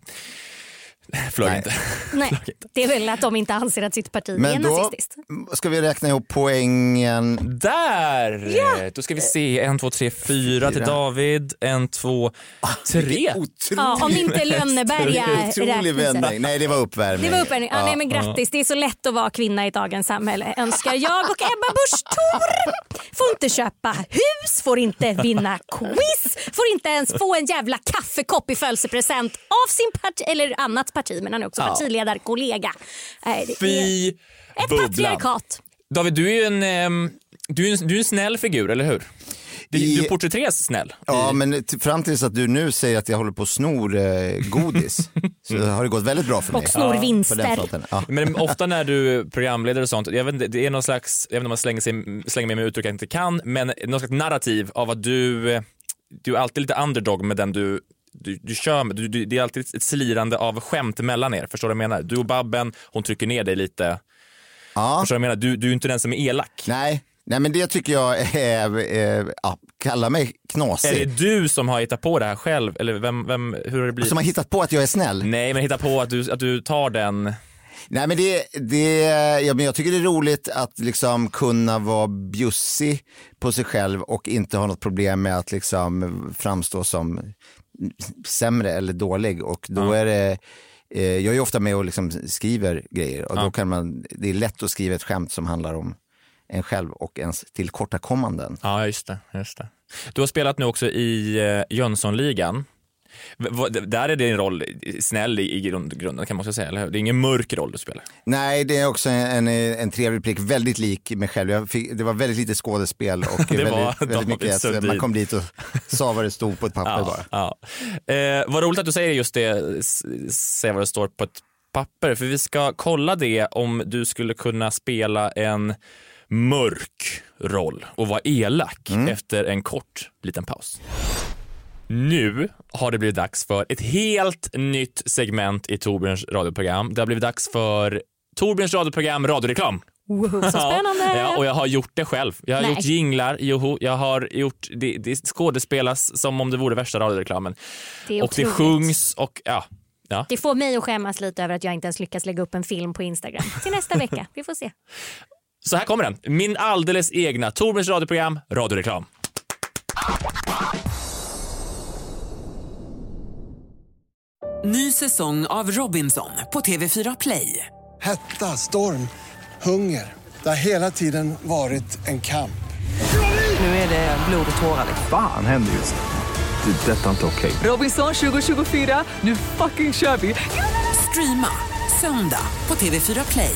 Speaker 1: Flög inte.
Speaker 3: Nej, det är väl att de inte anser att sitt parti är
Speaker 4: Men då
Speaker 3: nazistiskt.
Speaker 4: ska vi räkna ihop poängen.
Speaker 1: Där! Då ska vi se. En, två, tre, fyra till
Speaker 4: Fyra. Ah,
Speaker 1: David. En, två, tre.
Speaker 3: Ja, om
Speaker 4: [laughs]
Speaker 3: inte Lönneberga
Speaker 4: Otrolig vändning. Nej, det var uppvärmning.
Speaker 3: Det var uppvärmning. Ja,
Speaker 4: Ja.
Speaker 3: nej, men grattis, det är så lätt att vara kvinna i dagens samhälle önskar jag och Ebba Busch Thor. Får inte köpa hus, får inte vinna quiz, får inte ens få en jävla kaffekopp i födelsedagspresent av sin parti, eller annat parti men han är också
Speaker 1: Ja.
Speaker 3: partiledarkollega. Nej, det är
Speaker 1: Fy
Speaker 3: Ett
Speaker 1: bubblan.
Speaker 3: patriarkat.
Speaker 1: David, du är ju en, ehm, du är en, du är en snäll figur, eller hur? Du, du porträtteras snäll.
Speaker 4: Ja, men t- fram tills att du nu säger att jag håller på och snor eh, godis så har det gått väldigt bra för mig.
Speaker 3: Och snor
Speaker 4: Ja, på den
Speaker 3: vinster.
Speaker 4: fronten. Ja.
Speaker 1: Men ofta när du är programledare och sånt, jag vet inte, det är någon slags, jag vet inte om man slänger, sig, slänger med mig uttryck jag inte kan, men någon slags narrativ av att du, eh, du är alltid lite underdog med den du du, du kör med, du, du, det är alltid ett slirande av skämt mellan er, förstår du vad jag menar? Du och Babben, hon trycker ner dig lite. Förstår du vad jag menar? Du, du är inte den som är elak.
Speaker 4: Nej. Nej, men det tycker jag är, eh, ja, kalla mig knasig.
Speaker 1: Är det du som har hittat på det här själv? Eller vem, vem, hur har det blivit?
Speaker 4: Som har hittat på att jag är snäll?
Speaker 1: Nej, men hitta på att du, att du tar den...
Speaker 4: Nej men det, det, ja, men jag tycker det är roligt att liksom kunna vara bjussig på sig själv och inte ha något problem med att liksom framstå som sämre eller dålig. Och då är det, eh, jag är ofta med och liksom skriver grejer och då kan man, det är lätt att skriva ett skämt som handlar om en själv och ens tillkortakommanden.
Speaker 1: Ja, just det, just det. Du har spelat nu också i eh, Jönssonligan. V- vad- d- Där är din roll snäll i, i grund- grunden kan man också säga, eller hur? Det är ingen mörk roll du spelar.
Speaker 4: Nej, det är också en, en, en trevlig prick, väldigt lik mig själv. Jag fick, det var väldigt lite skådespel och
Speaker 1: [laughs] Det
Speaker 4: väldigt,
Speaker 1: var
Speaker 4: väldigt
Speaker 1: David
Speaker 4: mycket att
Speaker 1: Sundin.
Speaker 4: man kom dit och sa vad det stod på ett papper bara.
Speaker 1: Ja. Eh, vad roligt att du säger just det, s- säga vad det står på ett papper, för vi ska kolla det om du skulle kunna spela en mörk roll och vara elak
Speaker 4: Mm.
Speaker 1: efter en kort liten paus. Nu har det blivit dags för ett helt nytt segment i Torbjörns radioprogram. Det har blivit dags för Torbjörns radioprogram Radioreklam.
Speaker 3: Woho, så spännande!
Speaker 1: Ja, ja, och jag har gjort det själv. Jag har
Speaker 3: Nej.
Speaker 1: gjort jinglar, joho, jag har gjort, det, det skådespelas som om det vore värsta radioreklamen.
Speaker 3: Det är
Speaker 1: och det
Speaker 3: otroligt.
Speaker 1: sjungs och ja. ja.
Speaker 3: Det får mig att skämmas lite över att jag inte ens lyckas lägga upp en film på Instagram. Till nästa vecka, vi får se.
Speaker 1: Så här kommer den, min alldeles egna Torbjörns radioprogram, radioreklam.
Speaker 10: Ny säsong av Robinson på TV4 Play.
Speaker 11: Hetta, storm, hunger. Det har hela tiden varit en kamp.
Speaker 10: Nu är det blod och tårar.
Speaker 12: Fan händer just det. Det är detta inte okej.
Speaker 10: Robinson 2024, nu fucking kör vi! Streama söndag på TV4 Play.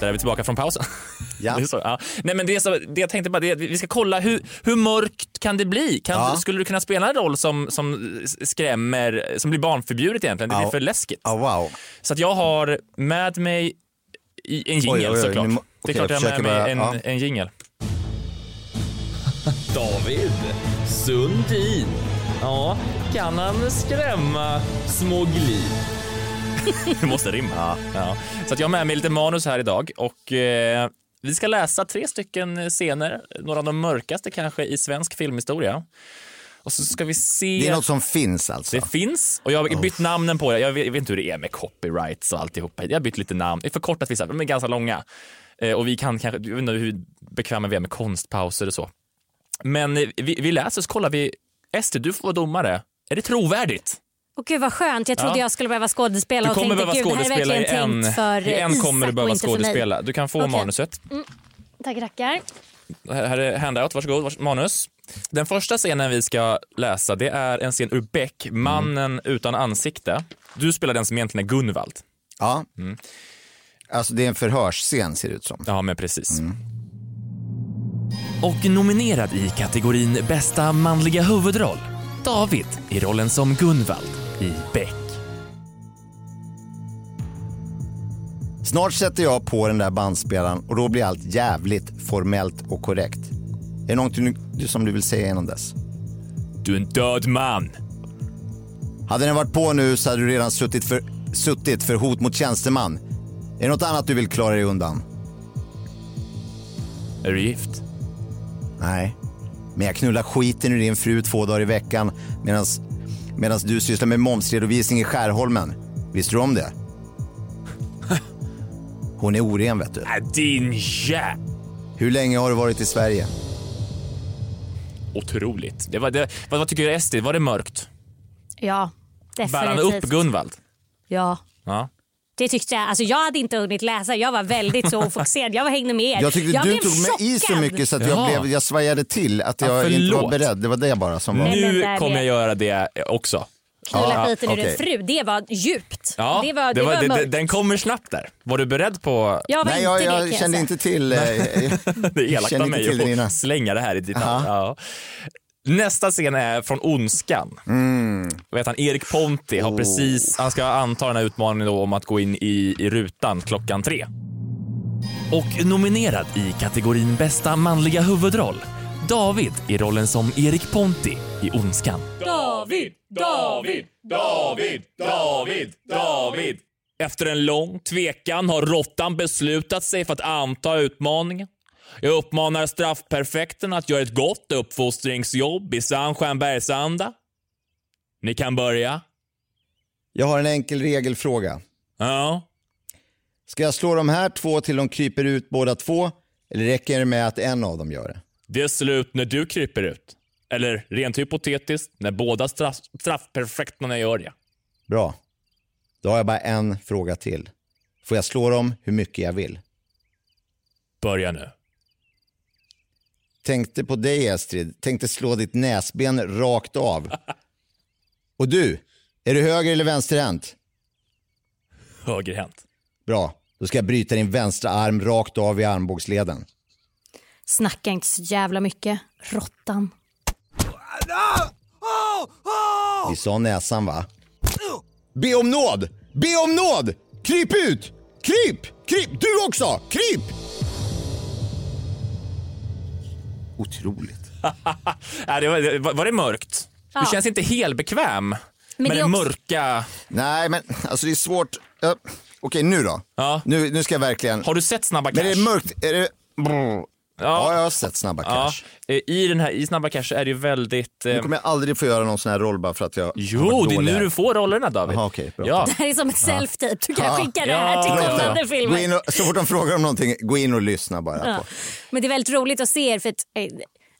Speaker 1: Där är vi tillbaka från pausen.
Speaker 4: [laughs]
Speaker 1: Det är så, ja. Nej, men det, är så, det jag tänkte bara, det, är att vi ska kolla hur, hur mörkt kan det bli? Kan,
Speaker 4: Ja.
Speaker 1: Skulle du kunna spela en roll som, som skrämmer, som blir barnförbjudet egentligen? Det blir
Speaker 4: Ja.
Speaker 1: för läskigt.
Speaker 4: Ja, wow.
Speaker 1: Så att jag har med mig i- en
Speaker 4: Oj, oj,
Speaker 1: jingel
Speaker 4: oj,
Speaker 1: såklart.
Speaker 4: nu må-
Speaker 1: det är
Speaker 4: okej,
Speaker 1: klart jag
Speaker 4: jag
Speaker 1: har med mig en,
Speaker 4: försöker bara-
Speaker 1: en jingel.
Speaker 13: [laughs] David Sundin. Ja, kan han skrämma små glid?
Speaker 1: [laughs] Det måste rimma. Ja. Så att jag har med mig lite manus här idag och eh, vi ska läsa tre stycken scener, några av de mörkaste kanske i svensk filmhistoria. Och så ska vi se...
Speaker 4: Det är något som finns alltså.
Speaker 1: Det finns och jag har bytt namnen på det. Jag vet, jag vet inte hur det är med copyrights och alltihopa. Jag har bytt lite namn. Jag har förkortat vissa, de är ganska långa. Eh, och vi kan kanske, jag vet inte hur bekväma vi är med konstpauser och så. Men eh, vi, vi läser så kollar vi. Ester, du får vara domare. Är det trovärdigt?
Speaker 3: Och gud vad skönt, jag trodde
Speaker 1: Ja.
Speaker 3: jag skulle behöva skådespela
Speaker 1: Du
Speaker 3: och
Speaker 1: kommer
Speaker 3: tänkte
Speaker 1: behöva
Speaker 3: gud det här är
Speaker 1: skådespela i
Speaker 3: verkligen
Speaker 1: en.
Speaker 3: tänkt för
Speaker 1: I en
Speaker 3: Isak
Speaker 1: kommer du
Speaker 3: och
Speaker 1: behöva
Speaker 3: inte för mig.
Speaker 1: skådespela. Du kan få
Speaker 3: Okej.
Speaker 1: manuset.
Speaker 3: Mm. Tack rackar.
Speaker 1: Här här är handout, varsågod, vars manus. Den första scenen vi ska läsa det är en scen ur Beck, Mannen utan ansikte. Du spelar den som egentligen är Gunvald.
Speaker 4: Ja.
Speaker 1: Mm.
Speaker 4: Alltså det är en förhörsscen ser det ut som.
Speaker 1: Ja, men precis. Och nominerad i kategorin bästa manliga huvudroll, David i rollen som Gunvald i Beck.
Speaker 4: Snart sätter jag på den där bandspelaren och då blir allt jävligt formellt och korrekt. Är det någonting du- som du vill säga innan dess?
Speaker 1: Du är en död man.
Speaker 4: Hade den varit på nu så hade du redan suttit för, suttit för hot mot tjänsteman. Är det något annat du vill klara dig undan?
Speaker 1: Är du gift?
Speaker 4: Nej, men jag knullar skiten ur din fru två dagar i veckan medan du sysslar med momsredovisning i Skärholmen. Visste du
Speaker 1: [laughs]
Speaker 4: om det? Hon är oren vet du.
Speaker 1: Äh, Din jä...
Speaker 4: Hur länge har du varit i Sverige?
Speaker 1: Otroligt. Det var, det, vad, vad tycker du Esti? Var det mörkt?
Speaker 3: Ja,
Speaker 1: Bär han upp
Speaker 3: definitivt.
Speaker 1: Gunvald?
Speaker 3: Ja,
Speaker 1: Ja.
Speaker 3: det tyckte jag. Alltså jag hade inte hunnit läsa, jag var väldigt så ofokuserad. Jag var hängde med er.
Speaker 4: Jag tyckte du
Speaker 3: blev
Speaker 4: tog mig i så
Speaker 3: chockad.
Speaker 4: mycket så att
Speaker 1: Ja.
Speaker 4: jag, blev, jag svajade till. Att
Speaker 1: Ja,
Speaker 4: jag inte var
Speaker 1: förlåt.
Speaker 4: beredd. Det var det bara som var...
Speaker 3: Nej, men
Speaker 1: Nu
Speaker 3: där
Speaker 1: kommer
Speaker 3: det-
Speaker 1: jag göra det också.
Speaker 3: Knulla
Speaker 1: Ja,
Speaker 3: skiten ur
Speaker 1: okej.
Speaker 3: din fru, det var djupt.
Speaker 1: Ja,
Speaker 3: det var, det var, mörkt.
Speaker 1: den kommer snabbt där. Var du beredd på...
Speaker 3: Jag var Nej, jag- inte det, jag kan jag kände säga. inte
Speaker 4: till...
Speaker 1: [laughs]
Speaker 4: eh,
Speaker 1: det är elakt
Speaker 4: kände
Speaker 1: av
Speaker 4: inte till
Speaker 1: mig
Speaker 4: den
Speaker 1: att slänga det här i ditt namn. ja. Nästa scen är från Ondskan.
Speaker 4: Mm.
Speaker 1: Vet han, Erik Ponti
Speaker 4: Oh.
Speaker 1: har precis, han ska anta den här utmaningen då om att gå in i, i rutan klockan tre. Och nominerad i kategorin bästa manliga huvudroll, David i rollen som Erik Ponti i Ondskan.
Speaker 14: David, David, David, David, David.
Speaker 1: Efter en lång tvekan har råttan beslutat sig för att anta utmaningen. Jag uppmanar straffperfekten att göra ett gott uppfostringsjobb i sann Stjärnbergsanda. Ni kan börja.
Speaker 4: [laughs] Jag har en enkel regelfråga.
Speaker 1: Ja.
Speaker 4: Ska jag slå de här två till de kryper ut båda två? Eller räcker det med att en av dem gör det?
Speaker 1: Det är slut när du kryper ut. Eller rent hypotetiskt, när båda straff, straffperfekterna gör det.
Speaker 4: Bra. Då har jag bara en fråga till. Får jag slå dem hur mycket jag vill?
Speaker 1: Börja nu.
Speaker 4: Tänkte på dig Estrid. Tänkte slå ditt näsben rakt av. Och du, är du höger eller vänsterhänt?
Speaker 1: Högerhänt.
Speaker 4: Bra, då ska jag bryta din vänstra arm rakt av i armbågsleden.
Speaker 3: Snacka inte så jävla mycket, råttan.
Speaker 4: Vi sa näsan va? Be om nåd! Be om nåd! Kryp ut! Kryp! Kryp! Du också! Kryp! Otroligt.
Speaker 1: Nej, Äh, det var, det var var det mörkt?
Speaker 3: Ja.
Speaker 1: Du känns inte helbekväm med
Speaker 3: det
Speaker 1: det
Speaker 3: är också-
Speaker 1: mörka.
Speaker 4: Nej, men alltså det är svårt. Ja, Okej, nu då. Nu, nu ska jag verkligen...
Speaker 1: Har du sett Snabba
Speaker 4: Men det är mörkt. Är det... Brr. Ja, jag har sett Snabba Cash.
Speaker 1: Ja, eh, i, den här, I Snabba Cash är det ju väldigt... eh,
Speaker 4: Nu kommer jag aldrig få göra någon sån här roll bara för att jag har
Speaker 1: Jo,
Speaker 4: varit
Speaker 1: det är nu
Speaker 4: dålig här.
Speaker 1: du får rollerna David.
Speaker 4: Jaha, okej, bra.
Speaker 1: ja.
Speaker 3: Det här är som ett self-tape. Du kan
Speaker 4: Ja.
Speaker 3: skicka det här till kommande
Speaker 4: Gå
Speaker 3: filmer.
Speaker 4: in och, så fort de frågar om någonting, gå in och lyssna bara.
Speaker 3: Ja.
Speaker 4: På.
Speaker 3: Men det är väldigt roligt att se er för att, eh,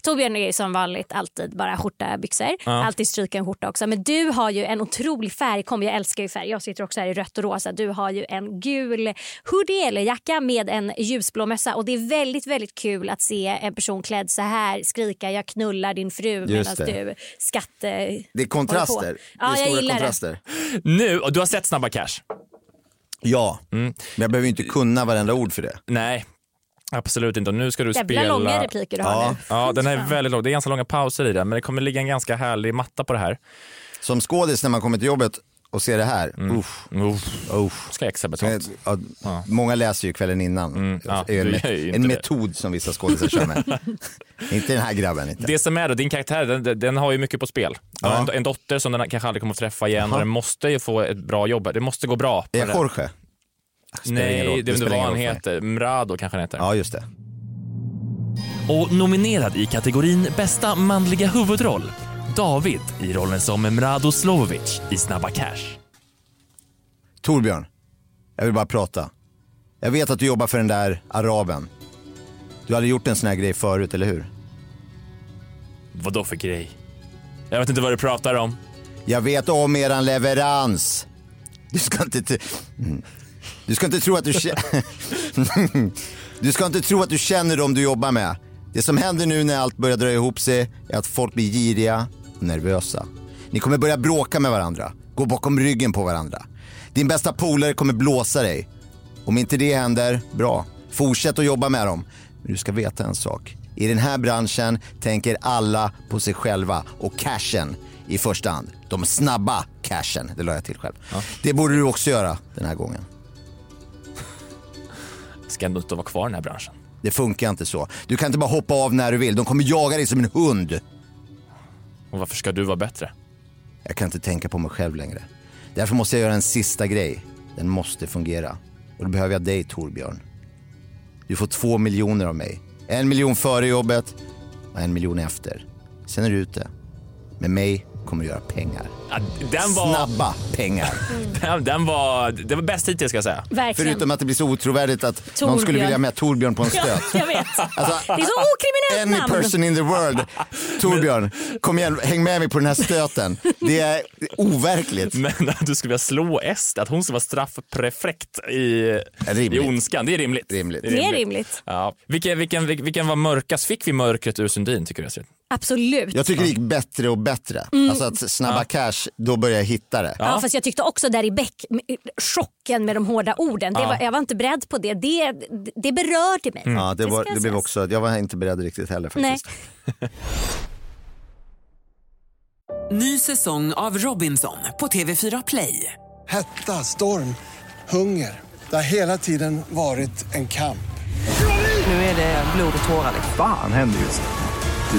Speaker 3: Torbjörn är ju som vanligt alltid bara skjorta, byxor.
Speaker 4: Ja.
Speaker 3: Alltid stryka en skjorta också. Men du har ju en otrolig färgkombi. Jag älskar ju färg. Jag sitter också här i rött och rosa. Du har ju en gul hoodie eller jacka med en ljusblå mössa. Och det är väldigt, väldigt kul att se en person klädd så här skrika jag knullar din fru medan
Speaker 4: Just det.
Speaker 3: du eh, skatte...
Speaker 4: Det är
Speaker 3: håller
Speaker 4: kontraster.
Speaker 3: på. Ja,
Speaker 4: det är
Speaker 3: jag
Speaker 4: stora
Speaker 3: gillar
Speaker 4: kontraster.
Speaker 1: Nu, och du har sett Snabba Cash?
Speaker 4: Ja,
Speaker 1: Mm.
Speaker 4: men jag behöver ju inte kunna varenda ord för det.
Speaker 1: Nej, absolut inte. Och nu ska du
Speaker 3: Jävla
Speaker 1: spela...
Speaker 3: långa repliker du har
Speaker 1: ja.
Speaker 3: nu.
Speaker 1: Ja, den är väldigt lång. Det är ganska långa pauser i den, men det kommer ligga en ganska härlig matta på det här.
Speaker 4: Som skådis när man kommer till jobbet och ser det här,
Speaker 1: Mm.
Speaker 4: uff.
Speaker 1: Uff. Ska jag extra
Speaker 4: Eh, ja, Många läser ju kvällen innan.
Speaker 1: Mm.
Speaker 4: Alltså,
Speaker 1: ja,
Speaker 4: Det är
Speaker 1: du
Speaker 4: en
Speaker 1: gör ju inte
Speaker 4: en
Speaker 1: det.
Speaker 4: metod som vissa skådisar
Speaker 1: [laughs]
Speaker 4: kör med. inte den här grabben. Inte.
Speaker 1: Det som är då, din karaktär, den, den har ju mycket på spel. Den har
Speaker 4: Ja.
Speaker 1: En, en dotter som den kanske aldrig kommer att träffa igen
Speaker 4: Jaha.
Speaker 1: och den måste ju få ett bra jobb. Det måste gå bra.
Speaker 4: Är
Speaker 1: på
Speaker 4: jag
Speaker 1: den.
Speaker 4: Jorge? Spelar ingen roll.
Speaker 1: Nej, det är
Speaker 4: spelar
Speaker 1: inte vad han
Speaker 4: ingen roll för mig.
Speaker 1: heter. Mrado kanske han heter.
Speaker 4: Ja, just det.
Speaker 1: Och nominerad i kategorin Bästa manliga huvudroll, David i rollen som Mrado Slovovic i Snabba Cash.
Speaker 4: Torbjörn, jag vill bara prata. Jag vet att du jobbar för den där araben. Du hade gjort en sån här grej förut, eller hur?
Speaker 1: Vad då för grej? Jag vet inte vad du pratar om.
Speaker 4: Jag vet om eran leverans. Du ska inte... t- Mm. Du ska inte tro att du känner... [laughs] du ska inte tro att du känner dem du jobbar med. Det som händer nu när allt börjar dra ihop sig är att folk blir giriga och nervösa. Ni kommer börja bråka med varandra, gå bakom ryggen på varandra. Din bästa polare kommer blåsa dig. Om inte det händer, bra. Fortsätt att jobba med dem. Men du ska veta en sak. I den här branschen tänker alla på sig själva och cashen i första hand. De snabba cashen, det la jag till själv. Det borde du också göra den här gången.
Speaker 1: Ska ändå inte vara kvar i den här branschen.
Speaker 4: Det funkar inte så. Du kan inte bara hoppa av när du vill. De kommer jaga dig som en hund.
Speaker 1: Och varför ska du vara bättre?
Speaker 4: Jag kan inte tänka på mig själv längre. Därför måste jag göra en sista grej. Den måste fungera. Och då behöver jag dig Torbjörn. Du får två miljoner av mig. En miljon före jobbet och en miljon efter. Sen är du ute. Med mig kommer du göra pengar.
Speaker 1: den var-
Speaker 4: Snabba pengar.
Speaker 3: Mm,
Speaker 1: Den, den var, det var bäst hittills ska jag säga.
Speaker 3: Verkligen.
Speaker 4: Förutom att det blir så otrovärdigt att någon skulle
Speaker 3: Torbjörn.
Speaker 4: vilja med Torbjörn på en
Speaker 3: Ja,
Speaker 4: stöt.
Speaker 3: jag vet.
Speaker 4: Alltså,
Speaker 3: det är så
Speaker 4: Any
Speaker 3: okriminellt namn.
Speaker 4: person in
Speaker 3: [laughs]
Speaker 4: the world. Torbjörn, kom igen, häng med mig på den här stöten. Det är overkligt.
Speaker 1: Men att du skulle vilja slå Ester, att hon skulle vara straffprefekt i, i ondskan, det är rimligt.
Speaker 4: rimligt.
Speaker 3: Det är rimligt.
Speaker 1: Ja. Vilken, vilken, vilken vilken var mörkast? Fick vi mörkret ur Sundin tycker du Astrid?
Speaker 3: Absolut.
Speaker 4: Jag tycker det gick bättre och bättre.
Speaker 3: Mm.
Speaker 4: Alltså att snabba cash, då börjar jag hitta det.
Speaker 3: Ja. fast jag tyckte också där i Beck, chocken med de hårda orden. Det
Speaker 4: Ja.
Speaker 3: var, jag var inte beredd på det. Det, det berörde mig.
Speaker 4: Mm. Ja, det, var,
Speaker 3: ska
Speaker 4: det blev
Speaker 3: sägas.
Speaker 4: också, jag var inte beredd riktigt heller faktiskt.
Speaker 3: Nej.
Speaker 10: Ny säsong av Robinson på TV4 Play.
Speaker 11: Hetta, storm, hunger. Det har hela tiden varit en kamp.
Speaker 10: Nu är det blod och tårar.
Speaker 12: Fan händer just det.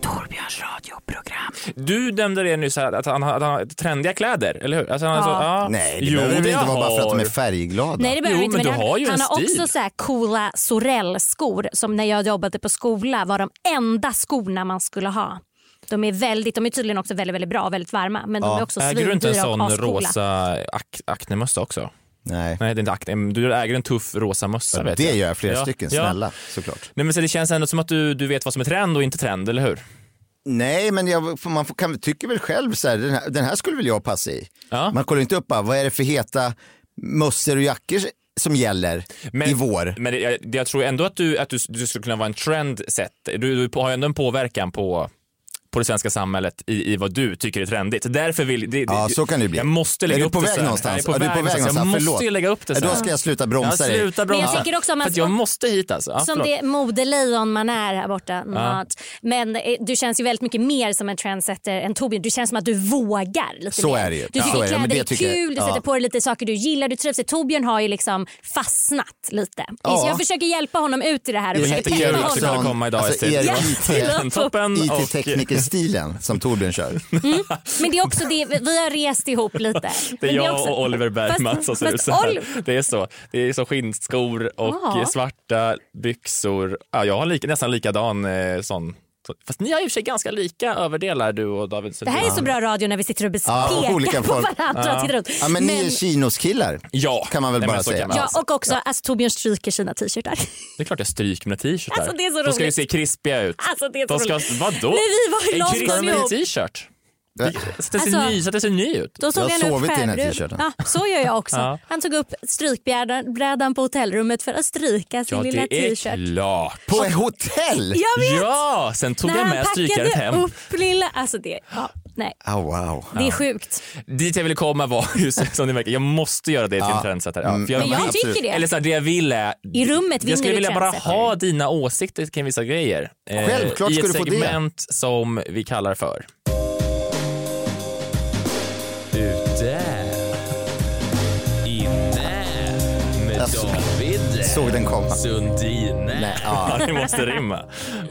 Speaker 10: Torbjörns radioprogram.
Speaker 1: Du dömde det nyss här, att han har att han har trendiga kläder, eller hur? Alltså, han har
Speaker 3: Ja.
Speaker 1: så-
Speaker 4: Nej, det
Speaker 1: Jo,
Speaker 4: behöver väl inte
Speaker 1: jag
Speaker 4: vara bara för att de
Speaker 1: har.
Speaker 4: är färgglada.
Speaker 3: Nej det behöver
Speaker 1: jo,
Speaker 3: inte.
Speaker 1: men du
Speaker 3: han
Speaker 1: har ju
Speaker 3: han
Speaker 1: en
Speaker 3: har
Speaker 1: stil.
Speaker 3: också så här coola Sorell-skor som när jag jobbade på skola var de enda skorna man skulle ha. De är, väldigt, de är tydligen också väldigt, väldigt bra och väldigt varma men de är också
Speaker 1: äger du inte en
Speaker 3: svindyra och
Speaker 1: sån
Speaker 3: ascoola.
Speaker 1: rosa ak- Acne-mössa också?
Speaker 4: Nej.
Speaker 1: Nej, det är inte Acne. Du äger en tuff rosa mössa.
Speaker 4: Ja,
Speaker 1: vet
Speaker 4: det
Speaker 1: jag.
Speaker 4: gör jag flera stycken, snälla, såklart.
Speaker 1: Nej, men så det känns ändå som att du, du vet vad som är trend och inte trend, eller hur?
Speaker 4: Nej, men jag, får- man får, kan, tycker väl själv så här, den här, den här skulle väl jag passa i. Man kollar inte upp bara, vad är det för heta mössor och jackor som gäller i vår?
Speaker 1: Men det, jag, det- jag tror ändå att du, att du, du skulle kunna vara en trendset. Du, du har ju ändå en påverkan på på det svenska samhället i, i vad du tycker är trendigt. Därför vill... Det,
Speaker 4: Ja,
Speaker 1: det-
Speaker 4: så kan det bli.
Speaker 1: Jag måste lägga
Speaker 4: är
Speaker 1: upp
Speaker 4: du på
Speaker 1: det
Speaker 4: väg
Speaker 1: så här.
Speaker 4: någonstans?
Speaker 1: Jag är
Speaker 4: Ja, du är på väg
Speaker 1: Jag
Speaker 4: någonstans.
Speaker 1: måste
Speaker 4: Förlåt.
Speaker 1: ju lägga upp det så
Speaker 4: Ja,
Speaker 1: här.
Speaker 4: Då ska jag sluta bromsa
Speaker 1: ja,
Speaker 4: dig.
Speaker 1: Sluta
Speaker 3: Men
Speaker 1: bromsa.
Speaker 3: jag tycker också om
Speaker 1: För
Speaker 3: man
Speaker 1: att jag måste hit alltså. Ja,
Speaker 3: Som
Speaker 1: förlåt.
Speaker 3: det modelejon man är här borta.
Speaker 1: Ja.
Speaker 3: Not. Men eh, du känns ju väldigt mycket mer som en trendsetter än Torbjörn. Du känns som att du vågar. Lite
Speaker 4: Så
Speaker 3: mer.
Speaker 4: är det ju.
Speaker 3: Du
Speaker 4: Ja.
Speaker 3: tycker
Speaker 4: Så är det, men
Speaker 3: kläder
Speaker 4: det
Speaker 3: är
Speaker 4: tycker jag-
Speaker 3: kul, du
Speaker 4: ja.
Speaker 3: sätter på dig lite saker du gillar, du trivs. i. Torbjörn har ju liksom fastnat lite.
Speaker 4: Ja.
Speaker 3: Så jag försöker hjälpa honom ut i det här. Och
Speaker 4: Erik
Speaker 3: försöker peppa
Speaker 4: Eriksson,
Speaker 3: honom.
Speaker 4: alltså
Speaker 1: istället.
Speaker 4: Erik
Speaker 3: Ja,
Speaker 1: [laughs]
Speaker 4: IT
Speaker 1: toppen [laughs] och-
Speaker 4: IT-teknikerstilen som Torbjörn kör.
Speaker 3: Men det är också det, vi har rest ihop lite.
Speaker 1: Det är
Speaker 3: Men
Speaker 1: jag
Speaker 3: också-
Speaker 1: och Oliver Bergman
Speaker 3: Fast-
Speaker 1: som ser
Speaker 3: fast
Speaker 1: ut så här.
Speaker 3: Oliver-
Speaker 1: Det är så. Det är så skinnskor och
Speaker 3: Ja.
Speaker 1: svarta byxor. Ja, jag har lika, nästan likadan eh, sån. Fast ni har i och för sig ganska lika överdelar du och David
Speaker 3: Det
Speaker 1: Sundin.
Speaker 3: här är så bra radio när vi sitter och bes-
Speaker 4: Ja, och
Speaker 3: pekar
Speaker 4: olika
Speaker 3: på
Speaker 4: folk.
Speaker 3: varandra och tittar runt.
Speaker 4: Ja, men, ni är kinoskillar.
Speaker 1: Ja,
Speaker 4: kan man väl
Speaker 1: Nej, men
Speaker 4: bara
Speaker 1: så kan
Speaker 4: säga.
Speaker 1: man.
Speaker 3: Ja, och också alltså, Torbjörn stryker sina t-shirtar.
Speaker 1: Det är klart jag stryker mina t-shirtar.
Speaker 3: Alltså, det är så
Speaker 1: De ska ju
Speaker 3: roligt.
Speaker 1: se krispiga ut.
Speaker 3: Alltså, det är så
Speaker 1: De ska,
Speaker 3: roligt.
Speaker 1: vadå?
Speaker 3: När vi var i London
Speaker 1: en krispig
Speaker 3: ihop.
Speaker 1: t-shirt. Det- Så att det ser
Speaker 3: Alltså,
Speaker 1: ny, så att det ser ny ut.
Speaker 3: Då såg han upp skärbrädan. Ja, så gör jag
Speaker 1: [laughs]
Speaker 3: också.
Speaker 1: Ja.
Speaker 3: Han tog upp strykbrädan brädan på hotellrummet för att stryka sin
Speaker 1: Ja,
Speaker 3: lilla
Speaker 1: det är
Speaker 3: t-shirt.
Speaker 1: klart.
Speaker 4: På ett hotell?
Speaker 3: Jag vet.
Speaker 1: Ja, sen tog
Speaker 3: När
Speaker 1: jag
Speaker 3: han
Speaker 1: med strykaret
Speaker 3: packade
Speaker 1: hem.
Speaker 3: upp lilla... Alltså det... Ja, nej.
Speaker 4: Oh, wow.
Speaker 3: Det är sjukt.
Speaker 1: Dit jag ville komma var ju så- som ni märker, jag måste göra det till en
Speaker 4: Ja.
Speaker 1: trendsetter. Ja, för
Speaker 3: Men jag
Speaker 1: vill-
Speaker 3: tycker det.
Speaker 1: Eller så här, det jag vill är...
Speaker 3: I rummet vinner
Speaker 1: Jag skulle
Speaker 3: du
Speaker 1: vilja bara
Speaker 3: trendsetter.
Speaker 1: ha dina åsikter kring vissa grejer. eh,
Speaker 4: Självklart
Speaker 1: I
Speaker 4: ska
Speaker 1: ett
Speaker 4: du få det.
Speaker 1: segment som vi kallar för... Ute. Inne. Med
Speaker 4: Alltså,
Speaker 1: David.
Speaker 4: såg den komma.
Speaker 1: Sundin. [laughs] Nej,
Speaker 4: ja.
Speaker 1: det måste rimma.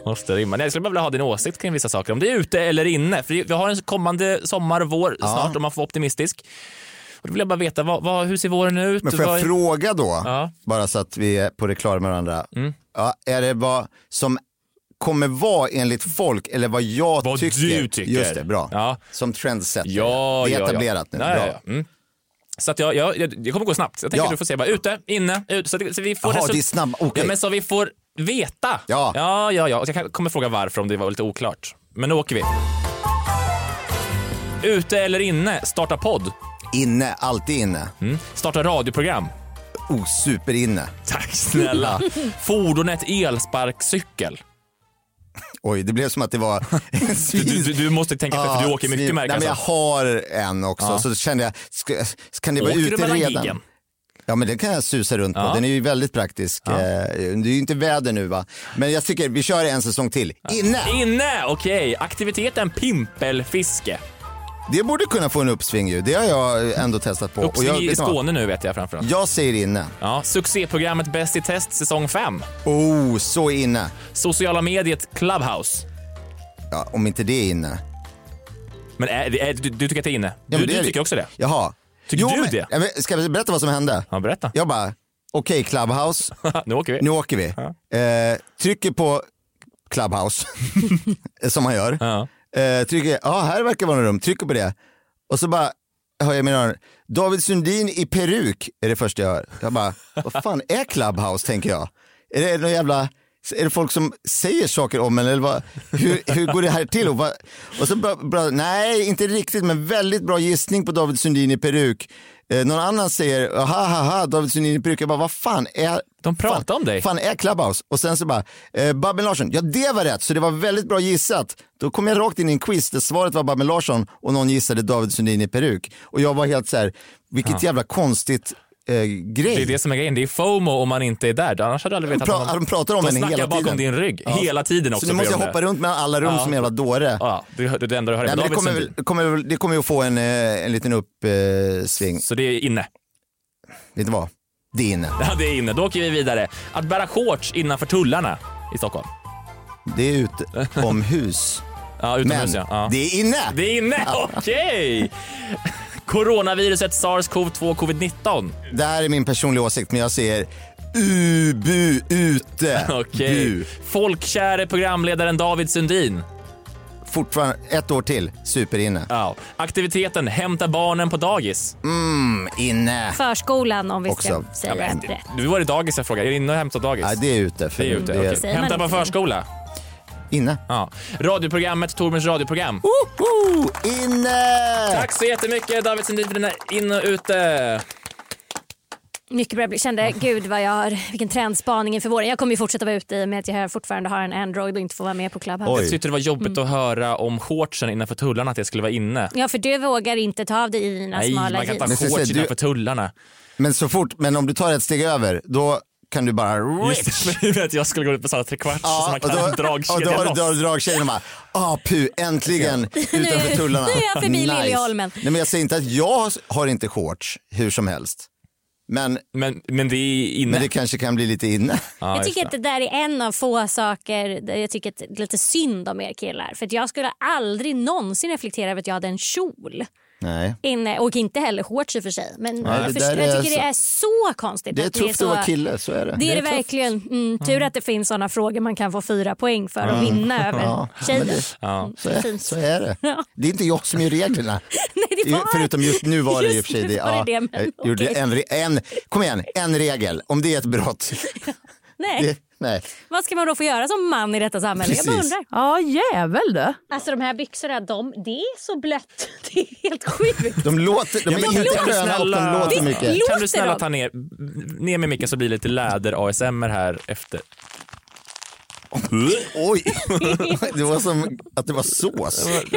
Speaker 1: Måste rimma. Nej, jag skulle bara vilja ha din åsikt kring vissa saker. Om det är ute eller inne. För vi har en kommande sommar, vår snart om man får vara optimistisk. Och då vill jag bara veta, vad, vad, hur ser våren ut?
Speaker 4: Men får jag
Speaker 1: Vad-
Speaker 4: fråga då, bara så att vi är på det klara med varandra.
Speaker 1: Mm.
Speaker 4: Ja, är det vad som kommer vara enligt folk eller vad jag
Speaker 1: Vad
Speaker 4: tycker?
Speaker 1: du tycker.
Speaker 4: Just det, bra.
Speaker 1: Ja.
Speaker 4: Som trendsetter.
Speaker 1: Ja,
Speaker 4: det
Speaker 1: ja,
Speaker 4: är
Speaker 1: ja.
Speaker 4: etablerat nu.
Speaker 1: Ja,
Speaker 4: bra.
Speaker 1: ja, ja. Mm. Så att jag, jag, jag, det kommer gå snabbt. Jag tänker
Speaker 4: Ja.
Speaker 1: att du får se bara ute, inne, ut. Så, att, så vi får
Speaker 4: Jaha,
Speaker 1: result-
Speaker 4: det är snabb- okej.
Speaker 1: ja, men så vi får veta. Ja. ja, ja, ja. Och jag kan- kommer fråga varför om det var lite oklart. Men nu åker vi. Ute eller inne, starta podd.
Speaker 4: Inne, alltid inne.
Speaker 1: Mm. Starta radioprogram. [laughs]
Speaker 4: Oh, superinne.
Speaker 1: Tack
Speaker 4: [laughs]
Speaker 1: snälla. Fordonet elsparkcykel.
Speaker 4: Oj, det blev som att
Speaker 1: [laughs]
Speaker 4: det var...
Speaker 1: Du, du, du- du måste tänka efter, för du åker mycket märker
Speaker 4: Ah, Nej, men jag
Speaker 1: alltså.
Speaker 4: har en också,
Speaker 1: Ja.
Speaker 4: så kände jag, ska, kan det vara
Speaker 1: Åker du
Speaker 4: ute
Speaker 1: mellan
Speaker 4: redan?
Speaker 1: giggen?
Speaker 4: Ja men den kan jag susa runt på,
Speaker 1: Ja.
Speaker 4: den är ju väldigt praktisk. Eh, Det är ju inte väder nu va, men jag tycker vi kör en säsong till. Inne!
Speaker 1: Inne, okej. Aktiviteten pimpelfiske.
Speaker 4: Det borde kunna få en uppsving ju, det har jag ändå testat på.
Speaker 1: Uppsving
Speaker 4: jag,
Speaker 1: i
Speaker 4: vet ni vad?
Speaker 1: Skåne nu vet jag framförallt.
Speaker 4: Jag säger inne.
Speaker 1: Ja, succéprogrammet Bäst i test säsong 5.
Speaker 4: Oh, så inne.
Speaker 1: Sociala mediet Clubhouse.
Speaker 4: Ja, om inte det är inne.
Speaker 1: Men är, är, du, du tycker att det är inne? Du,
Speaker 4: Ja, men det
Speaker 1: du
Speaker 4: är-
Speaker 1: tycker också det?
Speaker 4: Jaha.
Speaker 1: Tycker
Speaker 4: Jo,
Speaker 1: du
Speaker 4: men-
Speaker 1: det?
Speaker 4: Ja, men Ska jag berätta vad som hände?
Speaker 1: Ja, berätta.
Speaker 4: Jag bara, okej Clubhouse.
Speaker 1: nu åker vi.
Speaker 4: Nu åker vi. Eh, trycker på Clubhouse, [laughs] som man gör. Eh, trycker, ja här verkar vara något rum, trycker på det. Och så bara hör jag i mina öron, David Sundin i peruk är det första jag hör. Jag bara, vad fan är Clubhouse tänker jag. Är det någon jävla är det folk som säger saker om en? Eller vad, hur, hur går det här till? Och, vad, och så bra, bra, nej, inte riktigt, men väldigt bra gissning på David Sundin i peruk. Eh, någon annan säger, ha ha ha, David Sundin i peruk. Jag bara, vad fan är...
Speaker 1: De pratar
Speaker 4: fan,
Speaker 1: om dig.
Speaker 4: Fan är Clubhouse? Och sen så bara, eh, Babben Larsson, ja det var rätt, så det var väldigt bra gissat. Då kom jag rakt in i en quiz där svaret var Babben Larsson och någon gissade David Sundin i peruk. Och jag var helt så här, vilket
Speaker 1: Ja.
Speaker 4: jävla konstigt eh, grej.
Speaker 1: Det är det som är grejen, det är FOMO om man inte är där. Annars hade du aldrig vetat
Speaker 4: Pra-
Speaker 1: att
Speaker 4: de pratar om
Speaker 1: de
Speaker 4: en hela
Speaker 1: snackar bakom
Speaker 4: tiden.
Speaker 1: din rygg,
Speaker 4: Ja.
Speaker 1: hela tiden
Speaker 4: Så
Speaker 1: också.
Speaker 4: nu måste
Speaker 1: på grund
Speaker 4: jag
Speaker 1: av det.
Speaker 4: hoppa runt mellan alla rum som en jävla dåre.
Speaker 1: Ja, det är det enda du hör.
Speaker 4: Nej, men det,
Speaker 1: David
Speaker 4: kommer,
Speaker 1: Sundin.
Speaker 4: väl, kommer, väl- det kommer ju att få en, eh, en liten uppsving.
Speaker 1: Så det är inne?
Speaker 4: Vet du vad? Det är inne.
Speaker 1: Ja, det är inne. Då åker vi vidare. Att bära shorts innanför tullarna i Stockholm.
Speaker 4: Det är utomhus.
Speaker 1: ja, utomhus
Speaker 4: Men
Speaker 1: ja. ja.
Speaker 4: det är inne!
Speaker 1: Det är inne, okej! Coronaviruset SARS-CoV-2 covid-19.
Speaker 4: Det här är min personliga åsikt, men jag säger ubu ute.
Speaker 1: [laughs] Okej.
Speaker 4: Bu.
Speaker 1: Folkkäre programledaren David Sundin.
Speaker 4: Fortfarande ett år till, superinne.
Speaker 1: Ja. Aktiviteten Hämta barnen på dagis.
Speaker 4: Mm, inne.
Speaker 3: Förskolan om vi
Speaker 1: Också.
Speaker 3: ska säga
Speaker 1: Ja, men-
Speaker 3: rätt.
Speaker 1: Nu var det dagis jag frågade. Är det inne och hämta dagis?
Speaker 4: Nej, det är ute. för
Speaker 1: Det är
Speaker 4: mig.
Speaker 1: ute.
Speaker 4: Det är-
Speaker 1: okej.
Speaker 3: Säger man
Speaker 1: Hämta på
Speaker 3: inte det?
Speaker 1: förskola.
Speaker 4: Inne.
Speaker 1: Ja. Radioprogrammet, Torbjörns radioprogram.
Speaker 4: Woho! Inne!
Speaker 1: Tack så jättemycket David Sundin för dina in och ute.
Speaker 3: Mycket bra. Jag kände gud vad jag har, vilken trendspaning inför våren. Jag kommer ju fortsätta vara ute i och med att jag fortfarande har en Android och inte får vara med på Clubhouse.
Speaker 1: Jag tyckte det var jobbigt
Speaker 3: Mm.
Speaker 1: att höra om shortsen innanför tullarna att det skulle vara inne.
Speaker 3: Ja, för du vågar inte ta av dig i dina
Speaker 1: Nej, man
Speaker 3: smala
Speaker 1: kan inte ha
Speaker 3: jeans.
Speaker 4: Men så säger
Speaker 1: shorts
Speaker 4: du-
Speaker 1: innanför tullarna.
Speaker 4: Men så fort, men om du tar ett steg över, då kan du bara...
Speaker 1: [laughs] Just det, för att jag skulle gå ut på Sala trekvarts så man kan ha
Speaker 4: och då
Speaker 1: dragkedjan
Speaker 4: har du
Speaker 1: loss.
Speaker 4: drar dragkedjan och bara, ah pu, äntligen utanför tullarna.
Speaker 3: nu är jag förbi
Speaker 4: nice.
Speaker 3: Liljeholmen.
Speaker 4: Nej, men jag säger inte att jag har inte shorts hur som helst. Men,
Speaker 1: men, men det är inne.
Speaker 4: Men det kanske kan bli lite inne.
Speaker 3: jag tycker att det där är en av få saker där jag tycker att det är lite synd om er killar. För att jag skulle aldrig någonsin reflektera över att jag hade en kjol.
Speaker 4: Nej.
Speaker 3: Inne, och inte heller shorts i och för sig. Men
Speaker 4: Nej,
Speaker 3: jag,
Speaker 4: det
Speaker 3: förstår-
Speaker 4: där
Speaker 3: jag
Speaker 4: är
Speaker 3: tycker
Speaker 4: så-
Speaker 3: det är så konstigt.
Speaker 4: Det är
Speaker 3: att
Speaker 4: tufft
Speaker 3: så-
Speaker 4: att vara kille, så är det.
Speaker 3: Det är det,
Speaker 4: tufft.
Speaker 3: verkligen. Mm, tur att det finns såna frågor man kan få fyra poäng för och
Speaker 4: Mm.
Speaker 3: vinna över
Speaker 4: Ja,
Speaker 3: tjejer.
Speaker 4: men det-
Speaker 1: Ja.
Speaker 4: Så, är,
Speaker 3: Fint.
Speaker 4: så är det.
Speaker 3: [laughs] Ja.
Speaker 4: Det är inte jag som
Speaker 3: [laughs]
Speaker 4: gör reglerna.
Speaker 3: [laughs] Nej, det var...
Speaker 4: Förutom just nu var det i och
Speaker 3: Just
Speaker 4: för sig
Speaker 3: nu var det det, men
Speaker 4: jag gjorde
Speaker 3: okej.
Speaker 4: en, re- en, kom igen, en regel. Om det är ett
Speaker 3: [laughs]
Speaker 4: brott.
Speaker 3: Nej.
Speaker 4: Det, nej.
Speaker 3: Vad ska man då få göra som man i detta samhälle? Jag bara
Speaker 4: Precis.
Speaker 3: undrar.
Speaker 2: Ja, jävel du.
Speaker 3: Alltså de här byxorna, de, det är så blött. [laughs] Det är helt sjukt.
Speaker 4: De låter, de
Speaker 1: Ja,
Speaker 4: är
Speaker 1: men
Speaker 4: inte
Speaker 1: kan du
Speaker 4: sköna och de
Speaker 1: snälla-
Speaker 4: låter mycket.
Speaker 3: låter
Speaker 1: Kan du snälla
Speaker 3: de?
Speaker 1: ta ner, ner med micken så blir det lite läder-ASMR här efter.
Speaker 3: [laughs]
Speaker 4: Oj, det var som att det var sås.
Speaker 3: [laughs]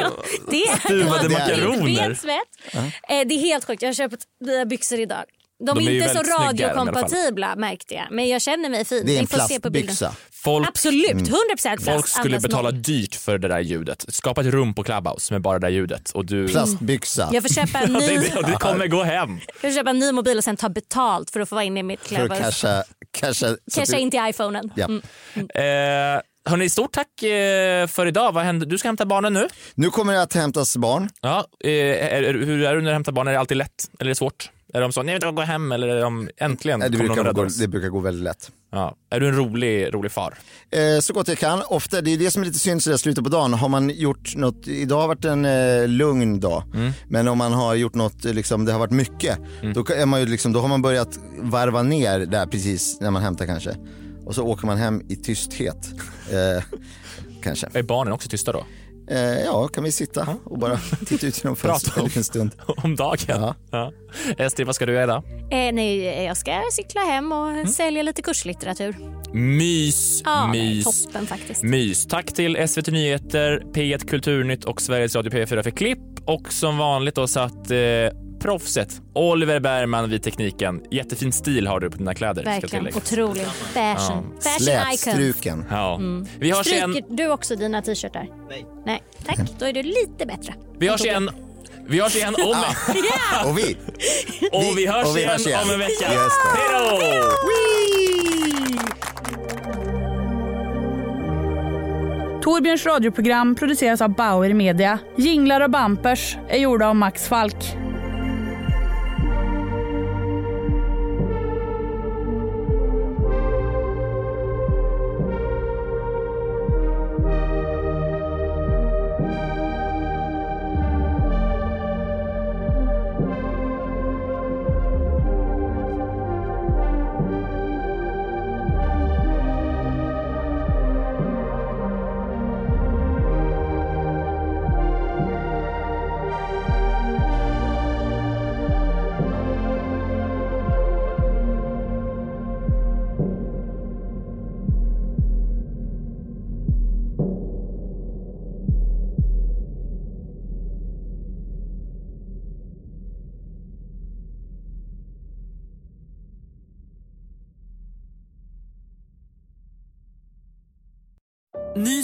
Speaker 3: Det är
Speaker 4: Stuvade
Speaker 3: det är
Speaker 4: makaroner.
Speaker 3: inte fet svett. Eh, Det är helt sjukt. Jag har köpt nya byxor idag. De,
Speaker 1: De är
Speaker 3: är
Speaker 1: ju
Speaker 3: inte så
Speaker 1: väldigt snygga är de i alla fall.
Speaker 3: radiokompatibla märkte jag. Men jag känner mig fin.
Speaker 4: Det är en
Speaker 3: Ni får se på bilden. Mm.
Speaker 4: plastbyxa.
Speaker 1: Folk,
Speaker 3: Absolut, 100 plast.
Speaker 1: Mm. folk skulle
Speaker 3: andas
Speaker 1: betala
Speaker 3: noll.
Speaker 1: dyrt för det där ljudet. Skapa ett rum på Clubhouse med bara det där ljudet. Och
Speaker 3: Mm.
Speaker 1: du...
Speaker 4: Plastbyxa.
Speaker 3: Jag får köpa
Speaker 1: [laughs]
Speaker 3: en
Speaker 1: Ja, [laughs] det, är
Speaker 3: ny,
Speaker 1: det, och det kommer gå hem.
Speaker 3: jag får köpa en ny mobil och sen ta betalt för att få vara inne i mitt
Speaker 4: För att
Speaker 3: kläder.
Speaker 4: casha, casha, så att
Speaker 3: Casha
Speaker 4: du-
Speaker 3: in till iPhonen.
Speaker 4: Ja.
Speaker 3: Mm.
Speaker 1: Eh, hörni, stort tack eh, för idag. Vad händer? Du ska hämta barnen nu.
Speaker 4: Nu kommer det att hämtas barn.
Speaker 1: Ja, eh, är, är, hur är det när du hämtar barn? Är det alltid lätt eller är det svårt? Är de så, nej jag vill gå hem eller är de äntligen
Speaker 4: Nej, det,
Speaker 1: kommer någon
Speaker 4: brukar
Speaker 1: rädda
Speaker 4: gå,
Speaker 1: oss?
Speaker 4: det brukar gå väldigt lätt.
Speaker 1: Ja. Är du en rolig, rolig far?
Speaker 4: Eh, så gott jag kan. Ofta, det är det som är lite synd sådär slutet på dagen. Har man gjort något, idag har varit en eh, lugn dag. Men om man har gjort något, eh, liksom, det har varit mycket. Då, kan- är man ju liksom, då har man börjat varva ner där precis när man hämtar kanske. Och så åker man hem i tysthet. Eh, kanske.
Speaker 1: Är barnen också tysta då? [laughs]
Speaker 4: Eh, ja, kan vi sitta och bara titta ut genom fönstret
Speaker 1: Prata
Speaker 4: en
Speaker 1: om-
Speaker 4: liten stund.
Speaker 1: Om dagen? Ja. Estrid, vad ska du göra idag?
Speaker 3: Eh, nej, jag ska cykla hem och
Speaker 1: Mm.
Speaker 3: sälja lite kurslitteratur.
Speaker 1: Mys,
Speaker 3: Ja,
Speaker 1: mys.
Speaker 3: toppen faktiskt.
Speaker 1: Mys. Tack till SVT Nyheter, P1 Kulturnytt och Sveriges Radio P4 för klipp. Och som vanligt då satt eh, proffset Oliver Bergman vid tekniken. Jättefin stil har du på dina kläder. Ska
Speaker 3: Verkligen.
Speaker 1: tilläggas.
Speaker 3: Otrolig. Fashion. Fashion icon.
Speaker 4: Slätstruken.
Speaker 1: Ja.
Speaker 3: Mm.
Speaker 1: Vi hörs igen.
Speaker 3: Stryker du också dina t-shirtar? Nej. Nej. Tack, då är du lite bättre.
Speaker 1: Vi hörs igen. Vi hörs
Speaker 4: [laughs]
Speaker 1: igen om...
Speaker 3: Ja.
Speaker 4: Och vi.
Speaker 1: och vi hörs,
Speaker 4: och vi hörs
Speaker 1: igen
Speaker 4: igen.
Speaker 1: om en vecka.
Speaker 4: Just det.
Speaker 1: Hej då!
Speaker 2: Torbjörns radioprogram produceras av Bauer Media. Jinglar och bampers är gjorda av Max Falk.
Speaker 10: Ny